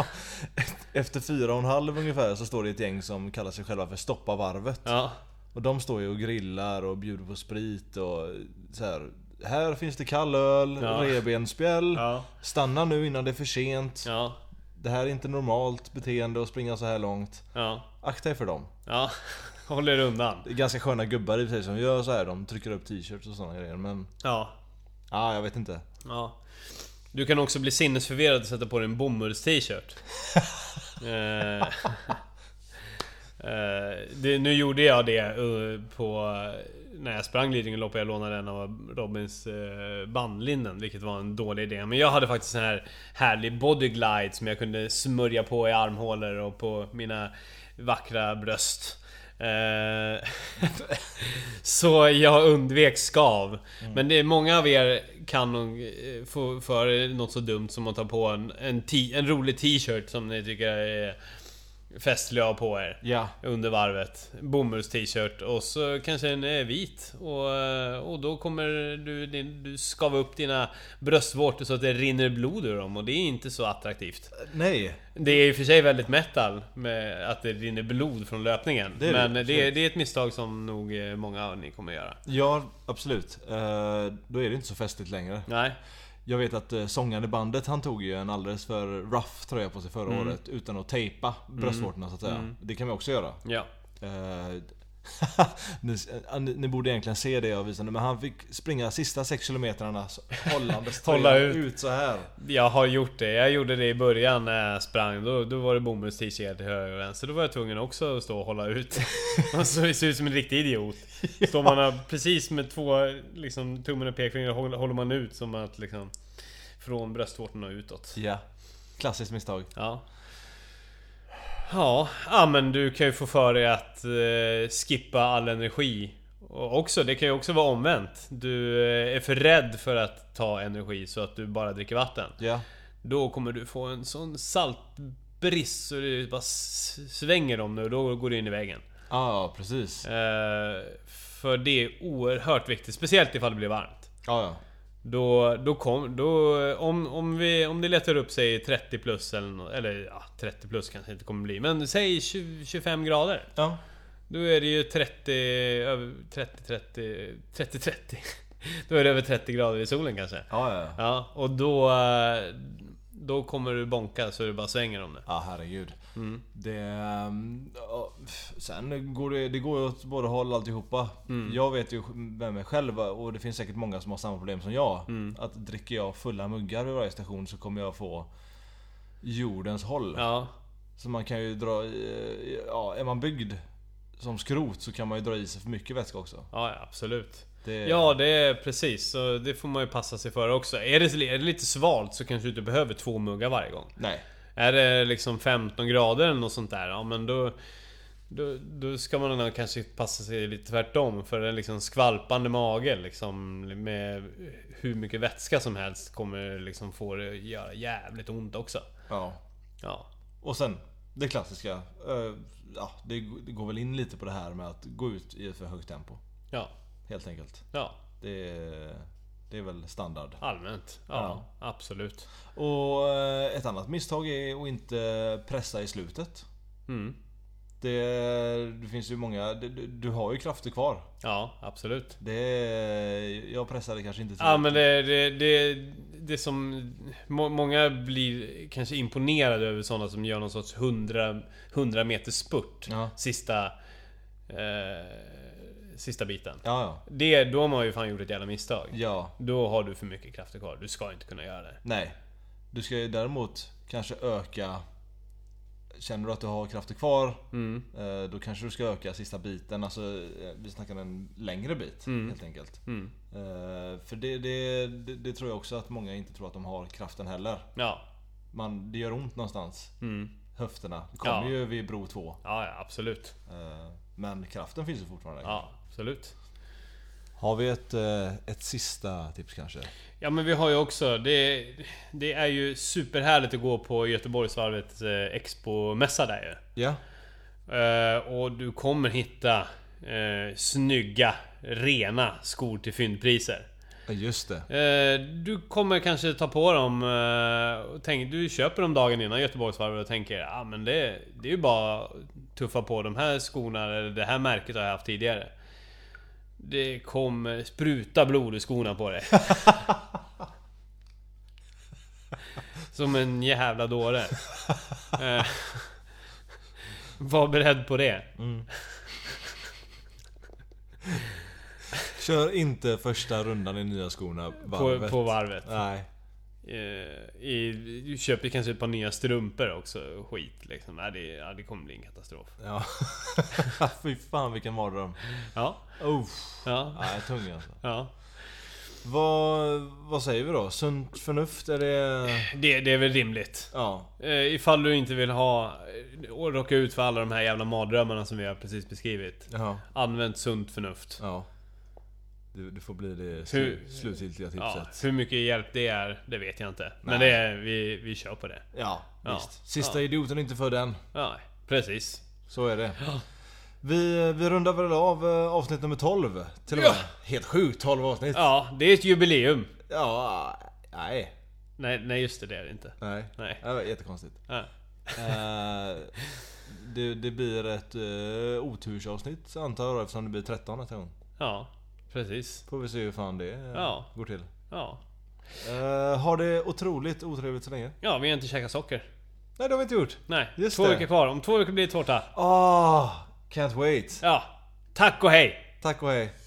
Efter fyra och en halv ungefär så står det ett gäng som kallar sig själva för Stoppa varvet.
Ja,
Och de står ju och grillar och bjuder på sprit och så här. Här finns det kall öl,
Ja.
revbensspjäll.
Ja.
Stanna nu innan det är för sent.
ja,
Det här är inte normalt beteende att springa så här långt.
ja,
Akta er för dem.
ja. Håll er undan.
Det är ganska sköna gubbar i och för sig som gör så här. De trycker upp t-shirts och sådana grejer. Men
Ja,
ja, jag vet inte.
Ja. Du kan också bli sinnesförvirrad och sätta på dig en bomulls-t-shirt. Eh, eh, det- nu gjorde jag det eh, på... När jag sprang Lidingöloppet, jag lånade en av Robins eh, bandlinnen, vilket var en dålig idé. Men jag hade faktiskt en här härlig bodyglide som jag kunde smörja på i armhålor och på mina vackra bröst. Eh, så jag undvek skav. Men det är många av er kan nog eh, få för er något så dumt som att ta på en, en, t- en rolig t-shirt som ni tycker är festlöv på er
Ja.
under varvet. Bomulls-t-shirt och så kanske den är vit. Och, eh, och då kommer du, din- du skava upp dina bröstvårtor så att det rinner blod ur dem och det är inte så attraktivt.
Nej.
Det är i och för sig väldigt metal med att det rinner blod från löpningen.
Det är det,
men det, det,
absolut.
är ett misstag som nog eh, många av ni kommer göra.
Ja, absolut. Eh, Då är det inte så festligt längre.
Nej.
Jag vet att eh, sångaren i bandet han tog ju en alldeles för rough tröja på sig förra
Mm.
året utan att tejpa bröstvårtorna så att säga. Det kan vi också göra.
Ja.
Eh, ni, eh, ni, ni borde egentligen se det jag visade men han fick springa sista 6 kilometrarna så- hållandes
Hålla
tröjan
ut.
ut så här.
Jag har gjort det. Jag gjorde det i början när jag sprang. Då, då var det bomulls t-shirt till höger och vänster. Då var jag tvungen också att stå och hålla ut. Man så- ser ut som en riktig idiot. Står man här precis med två liksom, tummen och pekfingret håller håller man ut som att liksom... Från bröstvårtorna och utåt.
Ja. Klassiskt misstag.
Ja. Ja, ja men du kan ju få för dig att eh, skippa all energi. Och också, det kan ju också vara omvänt. Du eh, är för rädd för att ta energi så att du bara dricker vatten.
Ja.
Då kommer du få en sån saltbrist så det bara s- svänger om nu och då går du in i vägen.
Ja, ah, precis. Ja,
Eh, för det är oerhört viktigt, speciellt ifall det blir varmt.
ja.
Då, då kom, då, om, om, vi, om det letar upp sig 30 plus eller, nå- eller ja, 30 plus kanske inte kommer bli, men säg 20, 25 grader.
Ja.
Då är det ju 30, över 30, 30, 30, 30. Då är det över 30 grader i solen kanske.
Ja, ja. Ja,
Ja, och då... eh, Då kommer du bonka så det bara svänger om det.
ah, herregud. Det... ehm, ja, pff, Sen går det, det går ju åt båda håll alltihopa. Jag vet ju med mig själv och det finns säkert många som har samma problem som jag. Att dricker jag fulla muggar vid varje station så kommer jag få jordens håll.
Ja,
Så man kan ju dra i, ja, är man byggd som skrot så kan man ju dra i sig för mycket vätska också.
ja ja, absolut.
Det-
Ja, det är precis. Så det får man ju passa sig för också. Är det, är det lite svalt så kanske du inte behöver två muggar varje gång.
Nej.
Är det liksom 15 grader eller något sånt där, ja men då... Då, då ska man nog kanske passa sig lite tvärtom för en liksom skvalpande mage liksom med hur mycket vätska som helst kommer liksom få det att göra jävligt ont också.
Ja.
Ja,
Och sen det klassiska. eh, Ja, det, det går väl in lite på det här med att gå ut i ett för högt tempo.
ja,
Helt enkelt.
ja.
Det, är- det är väl standard.
Allmänt? Ja, absolut.
Och eh, ett annat misstag är att inte pressa i slutet.
Mm.
Det, det finns ju många... Du, du- du har ju krafter kvar.
Ja, absolut.
Det, jag pressade kanske inte
Ja men det, det, det, det som... Må, många blir kanske imponerade över sådana som gör någon sorts 100, 100 meter spurt
Ja.
sista... Eh, sista biten.
Ja, ja.
Det, då har man ju fan gjort ett jävla misstag.
Ja.
Då har du för mycket krafter kvar. Du ska inte kunna göra det.
Nej. Du ska ju däremot kanske öka... Känner du att du har krafter kvar,
Mm.
eh, då kanske du ska öka sista biten. Alltså, eh, vi snackar en längre bit
Mm.
helt enkelt. Eh, För det, det, det, det tror jag också att många inte tror att de har kraften heller.
Ja,
Man, det gör ont någonstans. Höfterna. Det kommer
Mm. Ja.
ju vid bro 2.
ja, ja absolut.
Eh, Men kraften finns ju fortfarande.
Ja, absolut.
Har vi ett, eh, ett sista tips kanske?
Ja men vi har ju också, det, det är ju superhärligt att gå på Göteborgsvarvets eh, Expo-mässa där ju.
Ja.
Eh, och du kommer hitta eh, snygga, rena skor till fyndpriser.
Ja, Just det.
Eh, du kommer kanske ta på dem eh, och tänk, du köper dem dagen innan Göteborgsvarvet och tänker ah, men det, det är ju bara att tuffa på de här skorna eller det här märket har jag haft tidigare. Det kommer spruta blod ur skorna på dig. Som en jävla dåre. Eh, var beredd på det.
Kör inte första rundan i nya skorna
På,
varvet.
på varvet.
Nej.
Eh, I, du köper kanske ett par nya strumpor också och skit liksom. Nej, det, ja, det kommer bli en katastrof.
Ja. Fy fan vilken mardröm.
Ja,
Uff.
ja,
Nej, tung alltså.
ja.
Vad, vad säger vi då? Sunt förnuft? Är det...
Det, det är väl rimligt.
Ja.
Eh, ifall du inte vill ha eh, och råka ut för alla de här jävla mardrömmarna som vi har precis beskrivit.
Ja.
Använd sunt förnuft.
ja. Det, det får bli det
Hur-
slu, slutgiltiga
Ja,
tipset.
hur mycket hjälp det är, det vet jag inte. Men
Nej.
det är, vi, vi kör på det.
Ja,
Ja.
visst. Sista idioten är inte för den.
Ja, Precis.
Så är det. Vi, vi rundar väl av eh, avsnitt nummer 12 till och
Ja.
med. Helt sjukt, 12 avsnitt.
Ja, det är ett jubileum.
Ja, nej.
Nej, nej just det, det är det inte.
Nej.
Nej.
Det var jättekonstigt.
Ja.
Eh, det, det blir ett uh, otursavsnitt antar jag eftersom det blir 13 nästa gång.
Ja, precis.
Får vi se hur fan det eh,
Ja.
går till.
Ja.
Uh, har det otroligt otrevligt så länge.
Ja, vi har inte käkat socker.
Nej det har vi inte gjort.
Nej,
Just
två
det.
veckor kvar. Om två veckor blir det tårta.
Ah, can't wait.
Ja. Tack och hej!
Tack och hej.